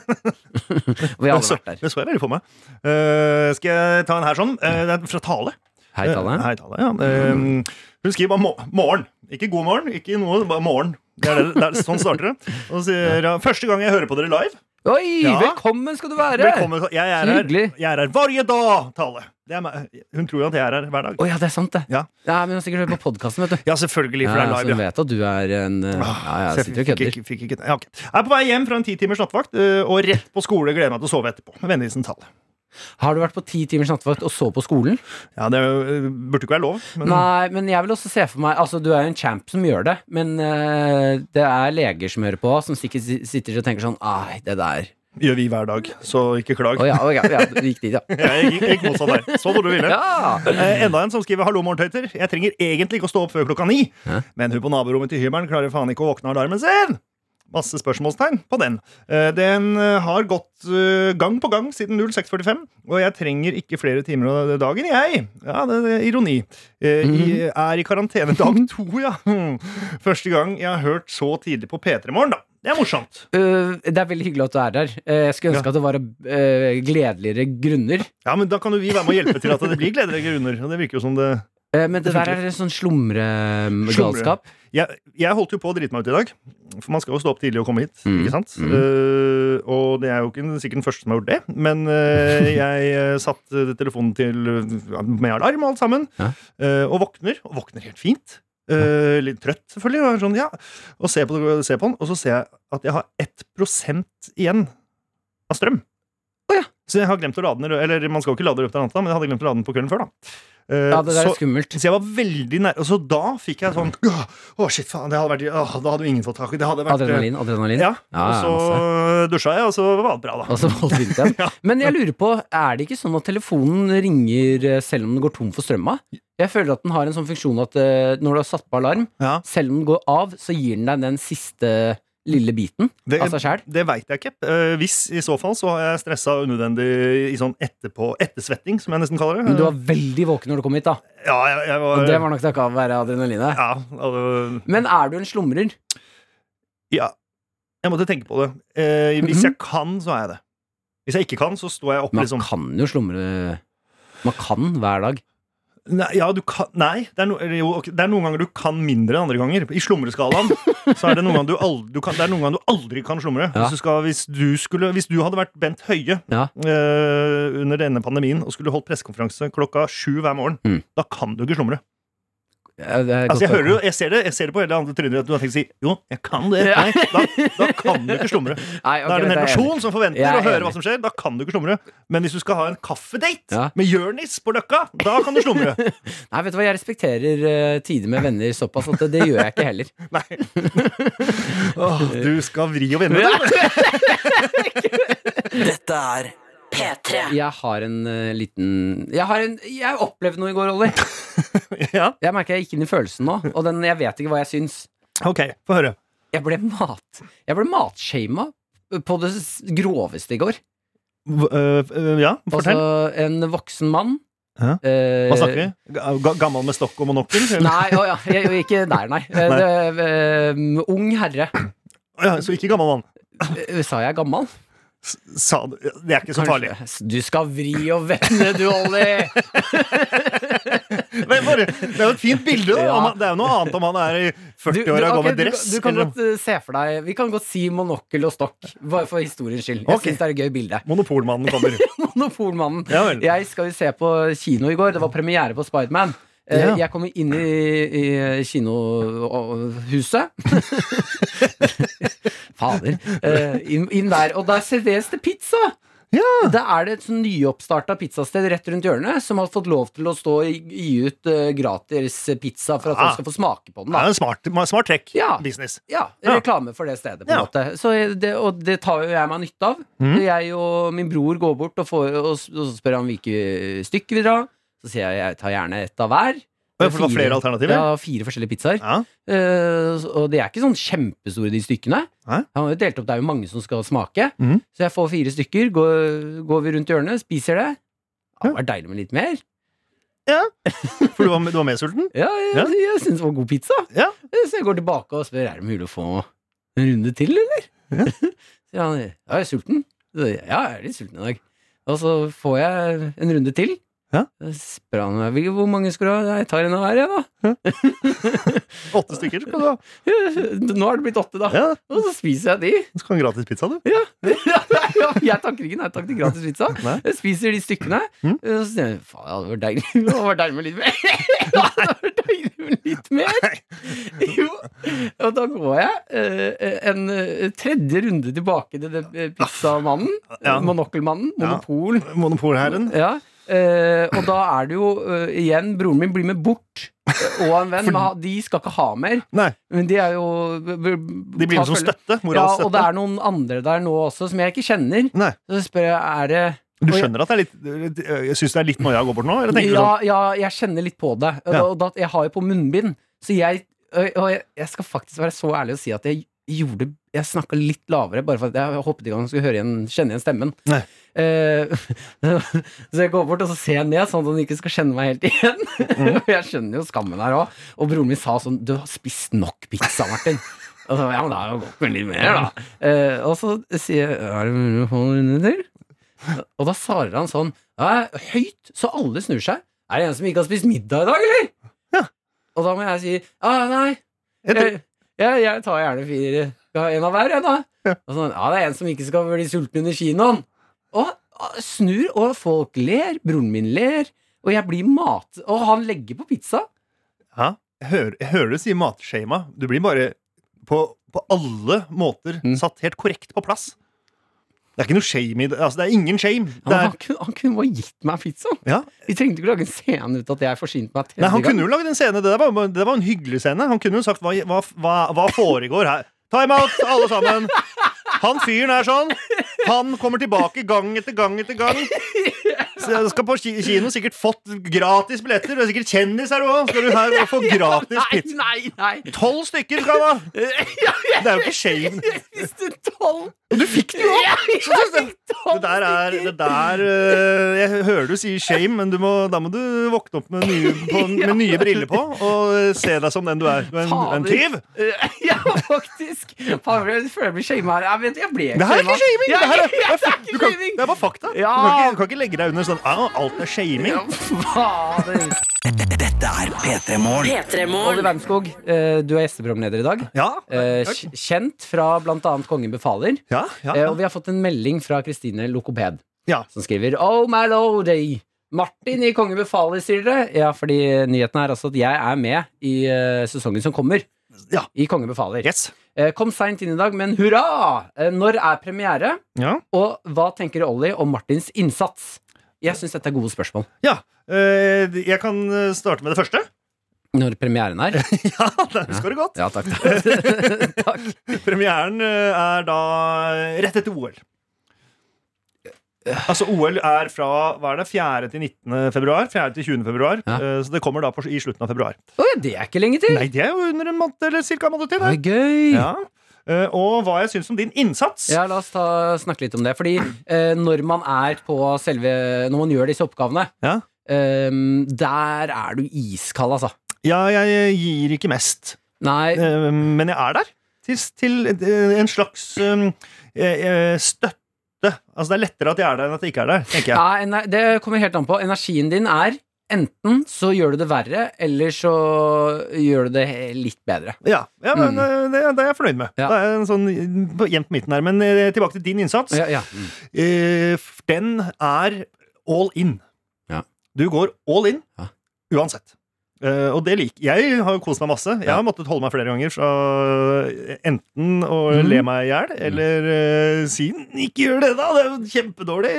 D: Og vi har alle
F: så,
D: vært der.
F: det så jeg veldig for meg. Eh, skal jeg ta en her sånn? Eh, det er fra Tale.
D: Hei, Talle.
F: Eh, Hei, Tale ja. Eh, hun skriver bare mo- 'morgen'. Ikke 'god morgen', ikke noe, bare 'morgen'. Det er det, det er, sånn starter det. Og så sier hun 'første gang jeg hører på dere live'.
D: Oi,
F: Ja.
D: velkommen skal du være!
F: Velkommen. Jeg er
D: Så
F: her,
D: hyggelig.
F: jeg er her hver dag, Tale. Det er meg. Hun tror jo at jeg er her hver dag.
D: Å ja, det er sant, det.
F: Ja.
D: men hun har sikkert hørt på podkasten, vet du.
F: Ja, selvfølgelig,
D: Ja,
F: for det er
D: så hun
F: live. Ja. Ah,
D: vet at du er en eh, Ja, ja,
F: Så jeg
D: sitter og
F: fikk-
D: kødder.
F: fikk- fikk ikke- ja, ok. Jeg er på vei hjem fra en ti timers nattevakt eh, og rett på skole. Gleder meg til å sove etterpå. Med vennligsen Tale.
D: Har du vært på ti timers nattevakt og så på skolen?
F: Ja, det er jo- burde ikke være lov. Men
D: Nei, men jeg vil også se for meg Altså, du er jo en champ som gjør det, men eh, det er leger som hører på, som sikkert si- sitter og tenker sånn Ai, det der.
F: gjør vi hver dag, så ikke klag.
D: Å ja, å ja, ja, du gikk dit, ja.
F: Ja, Jeg gikk, jeg gikk motsatt vei. Så hvor du ville.
D: Ja!
F: Eh, enda en som skriver 'Hallo, morgentøyter'. Jeg trenger egentlig ikke å stå opp før klokka ni,
D: Hæ?
F: men hun på naborommet til hybelen klarer faen ikke å våkne av alarmen sin. Masse spørsmålstegn på den. Eh, den eh, har gått eh, gang på gang siden 06.45, og jeg trenger ikke flere timer av dagen, jeg. Ja, det er ironi. Eh,
D: Mhm.
F: i, er i karantene dag to, ja. Hmm. Første gang jeg har hørt så tidlig på P3 Morgen, da. Det er morsomt.
D: Øh, det er veldig hyggelig at du er der. Eh, Jeg skulle ønske at det var av eh, gledeligere grunner.
F: Ja, men da kan jo vi være med å hjelpe til at det blir gledelige grunner. Og det virker jo som det
D: Eh, men det der
F: funker.
D: er sånn slumregalskap.
F: jeg, jeg holdt jo på å drite meg ut i dag, for man skal jo stå opp tidlig og komme hit.
D: Mm.
F: ikke sant?
D: Mm.
F: Eh, og det er jo ikke den- sikkert den første som har gjort det, men eh, jeg eh, satt eh, telefonen til eh, med alarm og alt sammen,
D: Ja.
F: eh, og våkner. Og våkner helt fint. Eh, litt trøtt, selvfølgelig, og, er sånn, ja. og ser, på, ser på den, og så ser jeg at jeg har 1 igjen av strøm.
D: Å ja.
F: Så jeg har glemt å lade den, i lø- eller man skal jo ikke lade i løpet av natta, men jeg hadde glemt å lade den på kvelden før, da. Eh,
D: Ja, det der
F: så,
D: er skummelt.
F: så jeg var veldig nær, og så da fikk jeg sånn Åh, åh, shit, faen, det hadde vært åh, Da hadde jo ingen fått tak i det. hadde vært eh,
D: Adrenalin, adrenalin.
F: Ja,
D: Ja,
F: og
D: ja,
F: så dusja jeg, og så var det bra, da.
D: Og så holdt vi ut igjen. Men jeg lurer på, er det ikke sånn at telefonen ringer eh, selv om den går tom for strømma? Jeg føler at den har en sånn funksjon at eh, når du har satt på alarm,
F: Ja.
D: selv om den går av, så gir den deg den siste lille biten
F: Det-
D: av seg sjæl.
F: Det veit jeg ikke. Eh, Hvis i så fall, så har jeg stressa unødvendig i sånn etterpå ettersvetting, som jeg nesten kaller det.
D: Men du var veldig våken når du kom hit, da.
F: Ja, jeg, jeg var,
D: Og det var nok takket av å være adrenalinet.
F: ja, altså,
D: Men er du en slumrer?
F: ja. Jeg måtte tenke på det. Eh, Hvis
D: Mhm.
F: jeg kan, så er jeg det. Hvis jeg ikke kan, så står jeg opp
D: Man
F: liksom
D: kan jo slumre Man kan hver dag.
F: Nei, ja, du kan, nei det, er no, eller jo, ok, det er noen ganger du kan mindre enn andre ganger. I slumreskalaen så er det noen ganger du aldri, du kan, det er noen ganger du aldri kan slumre.
D: Ja.
F: Hvis, du skal, hvis, du skulle, hvis du hadde vært Bent Høie
D: Ja.
F: eh, under denne pandemien og skulle holdt pressekonferanse klokka sju hver morgen,
D: Mm.
F: da kan du ikke slumre.
D: Ja, det er
F: Altså,
D: godt
F: jeg,
D: å-
F: hører, jo- jeg, ser det, jeg ser det på hele andre trynet at du har tenkt å si jo, jeg kan det.
D: Ja.
F: Nei, da, da kan du ikke slumre.
D: Nei, ok,
F: da er det en
D: dette
F: hel
D: jeg enig i.
F: nasjon som forventer
D: Jeg er
F: å høre
D: enig.
F: hva som skjer. Da kan du ikke slumre. Men hvis du skal ha en kaffedate
D: Ja.
F: med Jørnis på Løkka, da kan du slumre.
D: Nei, vet du hva, jeg respekterer eh, tider med venner såpass at det, det gjør jeg ikke heller.
F: Nei. Åh, du skal vri og vende. du.
E: Dette er
A: P3.
D: Jeg har en eh, liten Jeg har en Jeg opplevde noe i går, Olli.
F: Ja,
D: Jeg merker jeg gikk inn i følelsen nå, og den, jeg vet ikke hva jeg syns.
F: ok, få høre.
D: Jeg ble mat Jeg ble matshama på det s- groveste i går.
F: V- øh, øh, ja, fortell.
D: Altså en voksen mann.
F: Ja.
D: eh,
F: Hva snakker vi? Ga- ga- Gammel med stokk og monokkel? eller?
D: Nei, å, ja, jeg, jeg- ikke der, nei. Eh, Det, eh, ung herre.
F: Ja, så ikke gammel mann.
D: Eh, Sa jeg gammal?
F: S- Sa du Det er ikke så farlig.
D: Kanskje. Du skal vri og vende, du, Olli!
F: Men bare, det er jo et fint bilde. Da.
D: Ja.
F: Om han- Det er jo noe annet om han er i
D: Du- du-
F: 40-åra og går
D: ok,
F: med
D: du-
F: dress.
D: Du kan
F: eller-
D: godt eh, se for deg Vi kan godt si monokkel og stokk, bare for historiens skyld. Jeg
F: Ok.
D: synes syns det er et gøy bilde.
F: Monopolmannen kommer.
D: Monopolmannen.
F: Ja vel.
D: Jeg skal jo se på kino i går. Det var premiere på Spiderman. Eh,
F: Ja.
D: Jeg kom jo inn i, i kinohuset. Fader. Eh, Inn, inn der. Og der serveres det pizza!
F: Ja.
D: Da er det et sånn nyoppstarta pizzasted rett rundt hjørnet som har fått lov til å stå og gi ut eh, gratis pizza for at
F: Ah.
D: folk skal få smake på den.
F: Det
D: Da.
F: er en smart, smart trekk.
D: Ja.
F: Business.
D: Ja,
F: Ja.
D: reklame for det stedet, på en
F: Ja.
D: måte. Så det, og det tar jo jeg meg nytte av.
F: Mhm.
D: Jeg og min bror går bort og, får, og, s- og så spør han hvilke stykker vi drar. Så sier jeg jeg tar gjerne ett av hver.
F: Ja, for det var
D: Fire-
F: flere alternativer?
D: Ja, fire forskjellige pizzaer.
F: Ja.
D: Eh, og de er ikke sånn kjempestore, de stykkene.
F: Nei.
D: Han har jo delt opp, Det er jo mange som skal smake.
F: Mhm.
D: Så jeg får fire stykker, går, går vi rundt hjørnet, spiser det. Ja, det var deilig med litt mer.
F: For du var, du var mer sulten?
D: Ja, jeg,
F: Ja.
D: jeg syns det var god pizza. Eh,
F: Ja.
D: Så jeg går tilbake og spør er det mulig å få en runde til, eller? Sier han ja, jeg er sulten. Så sier jeg, Ja, jeg er litt sulten i dag. Og så får jeg en runde til.
F: Ja.
D: Så spør han meg "Vil- hvor mange skal du ha. "Ja, Jeg tar en av hver, jeg, da.
F: Åtte stykker skal du ha.
D: Nå er det blitt åtte, da.
F: Ja,
D: Og så spiser jeg de.
F: så kan du ha gratis pizza, du.
D: jeg takker ikke nei takk til gratis pizza.
F: Nei.
D: Jeg spiser de stykkene.
F: Mm.
D: Og så sier jeg faen, det hadde vært deilig Det hadde vært deilig med litt mer. Det hadde vært deilig med litt mer. Jo. Og da går jeg eh, en eh, tredje runde tilbake til den, eh, pizzamannen.
F: Ja.
D: Monokkelmannen.
F: Ja.
D: Monopol.
F: Monopolherren.
D: Ja. Eh, og da er det jo eh, igjen Broren min blir med bort. Og en venn. men han- De skal ikke ha mer.
F: Nei,
D: Men de er jo eh,
F: de blir med som støtte.
D: ja,
F: Moralsk
D: og det
F: støtte.
D: er noen andre der nå også som jeg ikke kjenner.
F: Nei.
D: Så spør jeg er det
F: Du
D: og jeg-
F: skjønner at det er litt Jeg syns det er litt noia å gå bort nå? Eller tenker du sånn
D: ja, ja, jeg kjenner litt på det. Og
F: Ja.
D: da- Og da, jeg har jo på munnbind, så jeg Og og jeg, jeg skal faktisk være så ærlig og si at jeg gjorde Jeg snakka litt lavere, bare for at jeg håpet ikke han skulle høre igjen, kjenne igjen stemmen.
F: Nei.
D: Eh, så jeg går bort og så ser jeg ned, sånn at han ikke skal kjenne meg helt igjen.
F: Mhm.
D: Og jeg skjønner jo skammen her òg. Og broren min sa sånn Du har spist nok pizza, Martin. Og så, ja, men det har jo gått med litt mer, da. Eh, og så sier jeg Er det mulig å få en runde til? Og da svarer han sånn «Ja, høyt, så alle snur seg. Er det en som ikke har spist middag i dag, eller?
F: Ja.
D: Og da må jeg si ja, nei,
F: Jeg
D: jeg, jeg, jeg tar gjerne fire. Jeg har en av hver, jeg, da. Og sånn, ja, det er en som ikke skal bli sulten under kinoen. Og og snur, og folk ler. Broren min ler. Og jeg blir mat... Og han legger på pizza.
F: Ja, jeg hører, jeg hører du sier matskjema. Du blir bare på, på alle måter
D: Mm.
F: satt helt korrekt på plass. Det er ikke noe shame i det. Altså, det er ingen shame. Det
D: Han,
F: er,
D: han, kunne, han kunne bare gitt meg pizza.
F: ja.
D: Vi trengte ikke lage en scene ut at jeg forsynte meg tredje
F: Nei, han
D: gang.
F: kunne jo lagd en scene. Det, der var, det der var en hyggelig scene. Han kunne jo sagt hva, hva, hva, hva foregår her. Time out, alle sammen! Han fyren er sånn. Han kommer tilbake gang etter gang etter gang. Så jeg skal på ki- kino, sikkert fått gratis billetter. Du er sikkert kjendis her òg. Skal du her og få gratis pizza?
D: Nei, nei, nei!
F: Tolv stykker skal han ha! Det er jo ikke shame.
D: Jeg spiste tolv! Du fikk det jo!
F: Det der er det der, eh, Jeg hører du sier shame, men du må, da må du våkne opp med nye, på, med nye briller på og eh, se deg som den du er. Du er en, en tyv.
D: Ja, faktisk. Faen, jeg føler jeg blir shama her. Jeg, vet, jeg ble
F: Det her er ikke
D: shamed.
F: shaming!
D: Ja,
F: Det, her er,
D: ja, det er
F: det, er, du
D: ikke
F: kan,
D: shaming.
F: det er bare fakta.
D: Ja.
F: Du, kan ikke, du kan ikke legge deg under sånn «Au, alt er shaming.
D: Fader.
E: Dette er P3 Morgen.
D: Olle
C: P3morgen.
D: Wermskog, eh, du er gjesteprogramleder i dag.
F: Ja.
D: Eh,
F: Takk.
D: kj- Kjent fra bl.a. Kongen befaler.
F: Ja, ja,
D: Eh,
F: ja.
D: Og vi har fått en melding fra Kristine Lokoped,
F: Ja.
D: som skriver Oh my lordy! Martin i Kongen befaler, sier dere. Ja, fordi nyheten er altså at jeg er med i eh, sesongen som kommer.
F: Ja.
D: I Kongen befaler.
F: Yes.
D: Eh, kom seint inn i dag, men hurra! Eh, når er premiere?
F: Ja.
D: Og hva tenker Ollie om Martins innsats? Jeg syns dette er gode spørsmål.
F: ja. Eh, Jeg kan eh, starte med det første.
D: Når premieren er?
F: Ja, der husker du godt.
D: Ja, takk. takk.
F: Premieren eh, er da rett etter OL. Altså OL er fra hva er det, 4. til 19. februar. 4. til 20. februar.
D: Ja.
F: Eh, Så det kommer da på, i slutten av februar.
D: Oi, det er ikke lenge til!
F: Nei, det er jo under en måned eller cirka en måned til.
D: Det
F: det.
D: er gøy! Ja.
F: Ja. Eh, Og hva jeg syns om din innsats.
D: la oss ta, snakke litt om det. Fordi eh, når man er på selve Når man gjør disse oppgavene,
F: Ja.
D: eh, der er du iskald, altså.
F: Ja, jeg eh, gir ikke mest.
D: Nei,
F: Eh, Men jeg er der. Til, til eh, en slags eh, eh, støtte. Altså, det er lettere at jeg er der, enn at jeg ikke er der. tenker jeg.
D: nei, nei, det kommer helt an på. Energien din er Enten så gjør du det verre, eller så gjør du det he- litt bedre.
F: Ja, ja men eh, det, det er jeg fornøyd med.
D: Mm. Ja.
F: Det er en sånn eh, på- jevnt på midten her. Men eh, tilbake til din innsats.
D: Ja, ja.
F: Eh, f- Den er all in.
D: Ja.
F: Du går all in
D: Ja.
F: uansett. Eh, og det liker Jeg har jo kost meg masse. Jeg har måttet holde meg flere ganger fra eh, enten å
D: Mhm.
F: le meg i hjel eller eh, si 'ikke gjør det, da', det er jo en kjempedårlig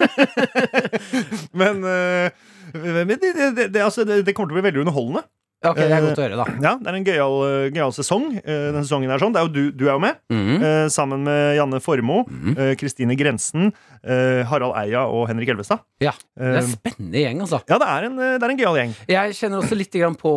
F: idé. men eh, men det, det, det, det, altså, det, det kommer til å bli veldig underholdende.
D: Ok, det er godt å høre, da.
F: Ja, Det er en gøyal gøyal sesong. Eh, Denne sesongen er sånn. Det er jo du, du er jo med.
D: Mhm.
F: Eh, sammen med Janne Formoe,
D: Mhm.
F: eh, Kristine Grensen, eh, Harald Eia og Henrik Elvestad.
D: Ja, Det er
F: Eh,
D: en spennende gjeng, altså.
F: ja, det er en, eh, det er en gøyal gjeng.
D: Jeg kjenner også litt grann på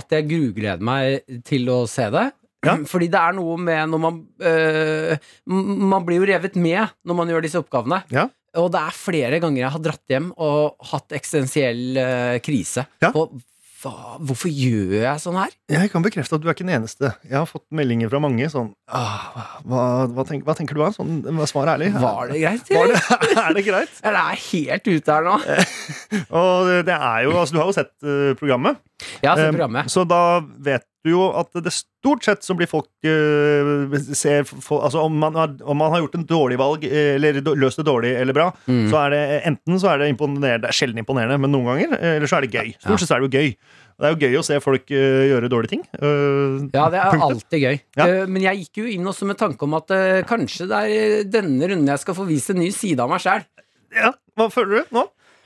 D: at jeg grugleder meg til å se det.
F: Ja.
D: Fordi det er noe med når man øh, m- Man blir jo revet med når man gjør disse oppgavene.
F: Ja.
D: Og det er flere ganger jeg har dratt hjem og hatt eksistensiell øh, krise.
F: Ja.
D: På hva, hvorfor gjør jeg sånn her?
F: Jeg kan bekrefte at du er ikke den eneste. Jeg har fått meldinger fra mange sånn ah, hva, hva, tenk, hva tenker du, da? Sånn, hva svaret ærlig?
D: Var det greit?
F: Var
D: eller?
F: det, Eh, er det greit?
D: Eller er jeg helt ute her nå?
F: Og det er jo, altså, du har jo sett eh, programmet.
D: Jeg har
F: Eh,
D: sett Altså programmet.
F: Så da vet du jo at det stort sett så blir folk eh, ser, fo- Altså om man, har, om man har gjort en dårlig valg, eh, eller do- løst det dårlig eller bra,
D: Mm.
F: så er det enten så er det imponerende, det er sjelden imponerende, men noen ganger, eh, eller så er det gøy. Stort sett så er det jo gøy. Og Det er jo gøy å se folk eh, gjøre dårlige ting. Eh,
D: Ja, det er
F: punktum.
D: alltid gøy.
F: Ja.
D: Eh, Men jeg gikk jo inn også med tanke om at eh, kanskje det er eh, denne runden jeg skal få vist en ny side av meg sjæl.
F: Ja, hva føler du nå?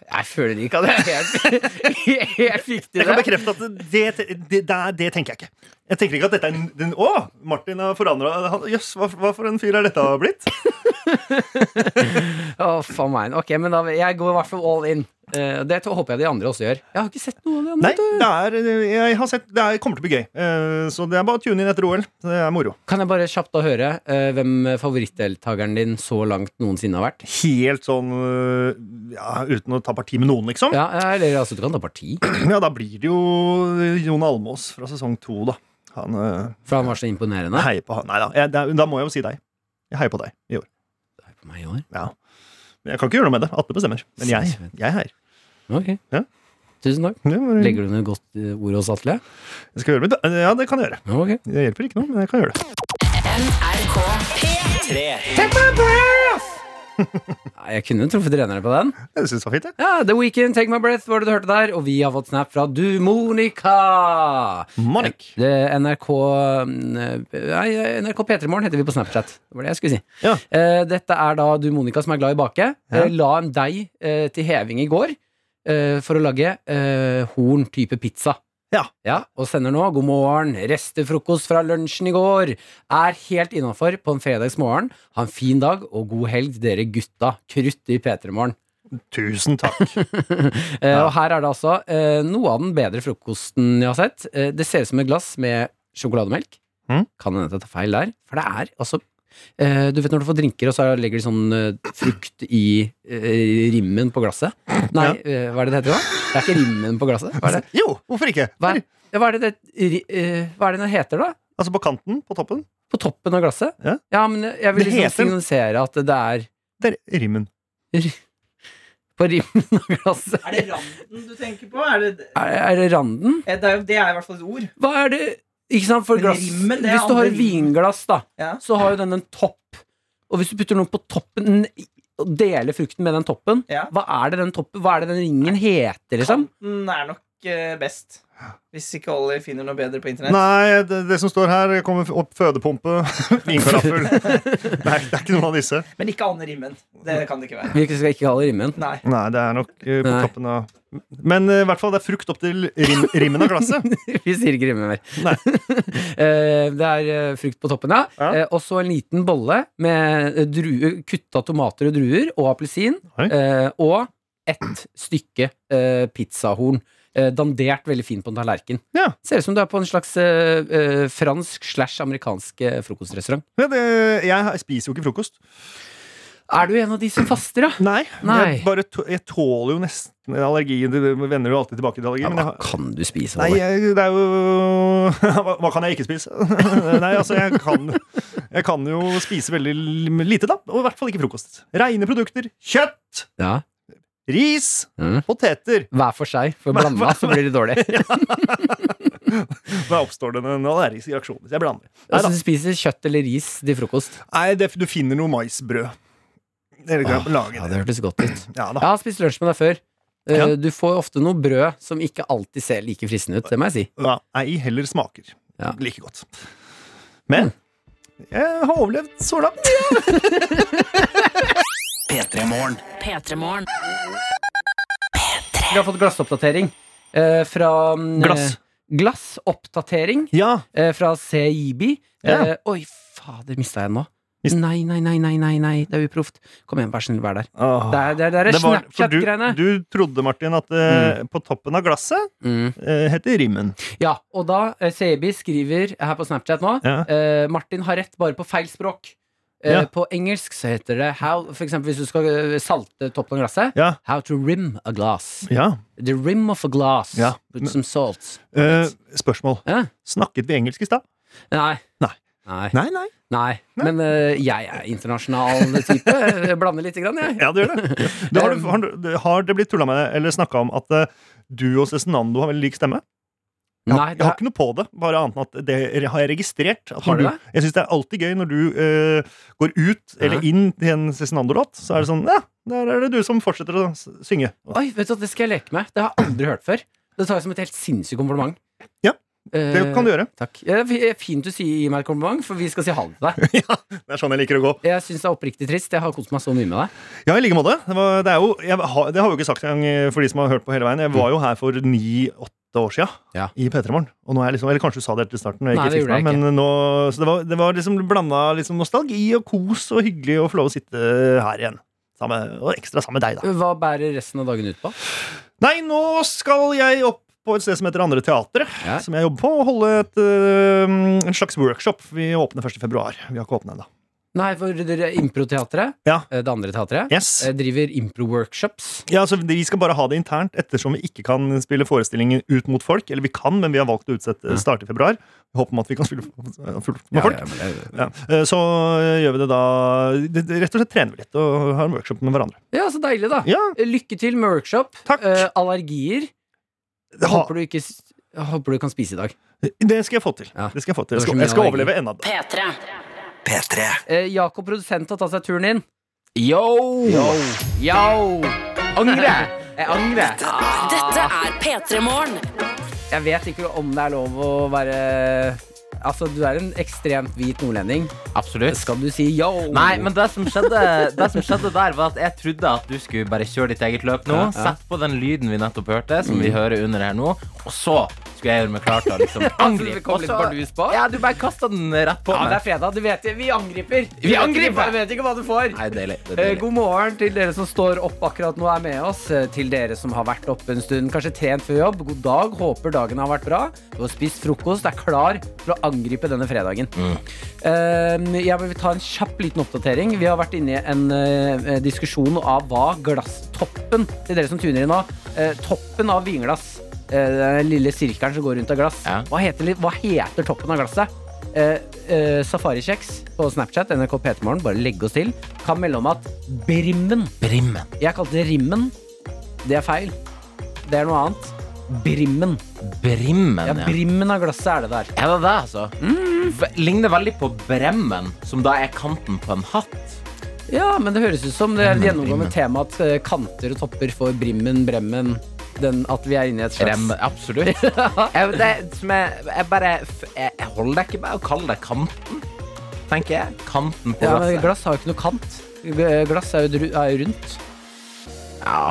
D: Jeg føler ikke at jeg er helt, helt riktig
F: Jeg kan
D: det.
F: bekrefte at det, det, det, er- det tenker jeg ikke. Jeg tenker ikke at dette er en- den, Å, Martin har forandra Jøss, hva, hva for en fyr er dette blitt?
D: Å, faen meg. Ok, men da, jeg går i hvert fall all in. Eh, det håper jeg de andre også gjør. Jeg har ikke sett noe av de andre.
F: Nei, det, er, jeg har sett, det er, kommer til å bli gøy. Eh, Så det er bare å tune inn etter OL. Det er moro.
D: Kan jeg bare kjapt da høre eh, hvem favorittdeltakeren din så langt noensinne har vært?
F: Helt sånn eh, ja, uten å ta parti med noen, liksom. Ja.
D: Ja, eller altså, du kan ta parti,
F: da blir det jo Jon Almås fra sesong to, da. Han eh,
D: for han var så imponerende.
F: heier på han. Nei da, jeg, da, da må jeg jo si deg. Jeg heier på deg i år.
D: På meg i år.
F: Ja. Men jeg kan ikke gjøre noe med det. Atle bestemmer. Men jeg, jeg heier.
D: Ok.
F: Ja.
D: Tusen takk.
F: Ja, men-
D: Legger du ned godt eh, ord hos Atle?
F: Jeg skal gjøre mitt. eh, Ja, det kan jeg gjøre.
D: Ok.
F: Det hjelper ikke noe, men jeg kan gjøre det.
A: NRK.
E: Tre.
D: Nei, Jeg kunne jo truffet renere på den.
F: Jeg synes det var fint, jeg.
D: Ja, The Weekend, Take My Breath, var det du hørte der. Og vi har fått snap fra du, Monica.
F: Manic.
D: Det er Eh, NRK mm, eh, Nei, NRK P3morgen heter vi på Snapchat. Det var det jeg skulle si.
F: Ja.
D: Eh, dette er da du, Monica, som er glad i bake.
F: Ja.
D: Eh, la en deig eh, til heving i går eh, for å lage eh, horn-type pizza.
F: Ja.
D: Og sender nå 'God morgen, restefrokost fra lunsjen i går'. Er helt innafor på en fredagsmorgen. Ha en fin dag og god helg, dere gutta. Krutt i P3morgen.
F: Tusen takk.
D: Eh, Og her er det altså eh, noe av den bedre frokosten jeg har sett. Eh, det ser ut som et glass med sjokolademelk.
F: Mm.
D: Kan hende at jeg tar feil der. For det er altså eh, Du vet når du får drinker, og så legger de sånn eh, frukt i eh, rimmen på glasset. Nei, eh, hva er det det heter da? Det er ikke rimmen på glasset. Hva er det
F: Jo, hvorfor ikke?
D: hva er, ja, hva er det, det ri- eh, hva er det den heter, da?
F: Altså på kanten, på toppen.
D: På toppen av glasset?
F: Ja.
D: men jeg vil
F: Det
D: liksom
F: heter-
D: signalisere at det er
F: Der, rimmen.
D: på rimmen av glasset.
B: Er det randen du tenker på? Er det,
D: Er, er det randen?
B: Eh, det, er, jo- det er i hvert fall et ord.
D: Hva er det Ikke sant, for
B: Men
D: glass
B: rimmen, det er
D: Hvis du har
B: andre rim.
D: vinglass, da,
B: Ja.
D: så har jo den en topp. Og hvis du putter noe på toppen og deler frukten med den toppen,
B: Ja.
D: hva er det den toppen Hva er det den ringen heter, liksom?
B: Kanten er nok eh, best. Hvis ikke Ollie finner noe bedre på internett.
F: Nei, det, det som står her, kommer opp fødepumpe, vinkaraffel. Nei, det er ikke noen av disse.
B: Men ikke Anne Rimmen. Det kan det ikke være.
D: Vi skal ikke kalle det rimmen.
B: Nei.
F: Nei, det er nok eh, på
D: Nei.
F: toppen av Men eh, i hvert fall, det er frukt opp til rim, rimmen av glasset.
D: Vi sier ikke rimmen mer. Eh, det er eh, frukt på toppen, ja.
F: Ja.
D: Eh, Og så en liten bolle med eh, dru- kutta tomater og druer og appelsin.
F: Oi.
D: eh, Og ett stykke eh, pizzahorn. eh, Dandert veldig fint på en tallerken.
F: Ja.
D: Ser ut som du er på en slags eh, eh, fransk slash amerikansk eh, frokostrestaurant.
F: Ja, det, eh, jeg spiser jo ikke frokost.
D: Er du en av de som faster, da?
F: Nei.
D: Nei.
F: Jeg, bare tå- jeg tåler jo nesten allergien. Det vender jo alltid tilbake til allergi. men jeg,
D: hva
F: har-
D: kan du spise?
F: Nei,
D: Halvor?
F: jeg, det er jo hva, hva kan jeg ikke spise? Nei, altså, jeg kan, jeg kan jo spise veldig l- lite, da. Og i hvert fall ikke frokost. Reine produkter. Kjøtt,
D: Ja.
F: ris,
D: Mm.
F: poteter.
D: Hver for seg, for blanda så blir det dårlig.
F: Da oppstår det en allergisk reaksjon. hvis Jeg blander. Nei,
D: Altså,
F: da.
D: du spiser kjøtt eller ris til frokost.
F: Nei det, du finner noe maisbrød. Eller kan jeg
D: Ja,
F: lage Ah, det.
D: det hørtes godt ut.
F: Ja,
D: Jeg
F: da.
D: har spist lunsj med deg før. Eh,
F: Ja.
D: Du får ofte noe brød som ikke alltid ser like fristende ut. Det må jeg si.
F: Ja, Ei heller smaker
D: Ja.
F: like godt. Men jeg har overlevd så langt.
E: P3 Morgen.
C: P3morgen.
D: Vi har fått glassoppdatering eh, fra mm,
F: Glass.
D: eh, Glassoppdatering
F: Ja,
D: eh, fra CIB.
F: Ja.
D: Eh, oi, fader, mista jeg den nå?
F: Mist-
D: Nei, nei, nei, nei, nei, nei, det er uproft. Kom igjen, vær snill, vær der.
F: Åh.
D: Det er det, er- det er
F: Ah. Det var- for du,
D: Snapchat-greiene.
F: du trodde, Martin, at eh, på toppen av glasset
D: Mm.
F: eh, heter rimmen.
D: Ja, og da eh, CIB skriver her på Snapchat nå
F: Ja.
D: eh, Martin har rett bare på feil språk. Eh,
F: Ja.
D: På engelsk så heter det how, For eksempel hvis du skal eh, salte toppen av glasset.
F: Ja.
D: How to rim a glass.
F: ja.
D: The rim of a glass.
F: Ja,
D: Put
F: men-
D: some salt.
F: Eh, spørsmål.
D: Ja.
F: Snakket vi engelsk i stad?
D: Nei.
F: Nei.
D: Nei.
F: Nei, nei.
D: Nei. Men eh, jeg er internasjonal type. Jeg blander lite grann, jeg.
F: Ja, det gjør det. Du, har, du, har, du, har det blitt tulla med eller snakka om at eh, du og Cezinando har veldig lik stemme? Jeg, har-
D: Nei,
F: jeg
D: det
F: har ikke noe på det, bare annet enn at det har jeg registrert. At
D: Har
F: når
D: du
F: du,
D: det?
F: jeg syns det er alltid gøy når du eh, går ut
D: Ja.
F: eller inn til en Cezinando-låt, så er det sånn Ja, der er det du som fortsetter å s- synge.
D: Oi, vet du, hva, det skal jeg leke med. Det har jeg aldri hørt før. Det tar jeg som et helt sinnssykt kompliment.
F: Ja, Det kan du gjøre.
D: Takk. Eh, f- Fint du sier gi meg et kompliment, for vi skal si ha det til deg.
F: Det er sånn jeg liker å gå.
D: Jeg syns det er oppriktig trist. Jeg har kost meg så mye med deg.
F: Ja, i like måte. Det, var, det, er jo, jeg, har- det har vi jo ikke sagt engang eh, for de som har hørt på hele veien. Jeg var jo her for ni-åtte år sia
D: Ja.
F: i P3 Morgen. Og nå er jeg liksom, eller kanskje du sa det helt i starten, og jeg
D: Nei,
F: ikke
D: det
F: fikk
D: gjorde
F: meg,
D: jeg ikke.
F: men nå, så det var, det var liksom blanda liksom nostalgi og kos og hyggelig å få lov å sitte her igjen. Sammen, og ekstra sammen med deg, da.
D: Hva bærer resten av dagen ut på?
F: Nei, nå skal jeg opp på et sted som heter Andre Teatret,
D: Ja.
F: som jeg jobber på, og holde et, eh, en slags workshop. Vi åpner 1. februar. Vi har ikke åpna ennå.
D: Nei, for dere improteatret,
F: Ja.
D: eh, det andre teatret,
F: Yes.
D: eh, driver impro-workshops.
F: Ja, altså, Vi skal bare ha det internt ettersom vi ikke kan spille forestillingen ut mot folk. Eller vi kan, men vi har valgt å utsette start i februar. Vi håper om at vi kan spille for- for- med folk. Ja. Eh, Så eh, gjør vi det da det- det- Rett og slett trener vi litt og har en workshop med hverandre.
D: Ja, så deilig, da.
F: Ja,
D: Eh, Lykke til med workshop.
F: Takk.
D: Eh, allergier.
F: det, har-
D: Håper du ikke s- jeg Håper du kan spise i dag.
F: det skal jeg få til.
D: Ja.
F: Det skal Jeg få til
D: Det var så
F: Jeg skal,
D: mye
F: jeg skal
D: allergi.
F: overleve ennå.
C: P3.
E: P3.
D: Eh, Jakob produsent har tatt seg turen inn. Yo! Yo! Angre! Jeg angrer.
C: Dette er P3 Morgen.
D: Jeg vet ikke om det er lov å være Altså, du er en ekstremt hvit nordlending.
I: Absolutt.
D: Skal du si yo?
I: Nei, men det som, skjedde, det som skjedde der, var at jeg trodde at du skulle bare kjøre ditt eget løp nå.
D: Ja, Mm. ja.
I: Sett på den lyden vi nettopp hørte, som vi hører under her nå. Og så skulle jeg gjøre meg klar til å
D: Altså,
I: liksom
D: det
I: angripe.
D: kom litt bardus på?
I: ja, du bare kasta den rett på
D: Ja, det er
I: meg.
D: fredag. Du vet, vi angriper.
I: Vi
D: Jeg
I: angriper!
D: vet ikke hva du får.
I: Nei, deilig. Det er
D: Eh,
I: deilig.
D: God morgen til dere som står opp akkurat nå og er med oss. Eh, Til dere som har vært oppe en stund, kanskje trent før jobb. God dag. Håper dagen har vært bra. Du har spist frokost, er klar til å angripe denne fredagen.
I: Mm.
D: Eh, Jeg vil ta en kjapp liten oppdatering. Vi har vært inne i en eh, diskusjon av hva glasstoppen Til dere som tuner inn nå. eh, Toppen av vinglass. eh, Den lille sirkelen som går rundt av glass.
I: Ja.
D: Hva, heter, hva heter toppen av glasset? Eh, eh, Safarikjeks på Snapchat, NRK P3morgen, bare legg oss til, kan melde om at Brimmen
I: Brimmen.
D: Jeg kalte det Rimmen. Det er feil. Det er noe annet. Brimmen. Ja, Mm.
I: Brimmen, ja.
D: Brimmen av glasset er det der.
I: Er det det, altså? V- Ligner veldig på bremmen, som da er kanten på en hatt.
D: Ja, men det høres ut som det er et gjennomgående
I: Brimmen.
D: tema at eh, kanter og topper får Brimmen, Bremmen den, At vi er inne i et slags
I: Rem, absolutt. jeg, det, som jeg, jeg bare f- jeg, jeg holder deg ikke med å kalle det kanten, tenker jeg. Kanten på
D: ja, men
I: glasset.
D: Glass har jo ikke noe kant. G- eh, Glass er jo, dru- er jo rundt.
I: Ja.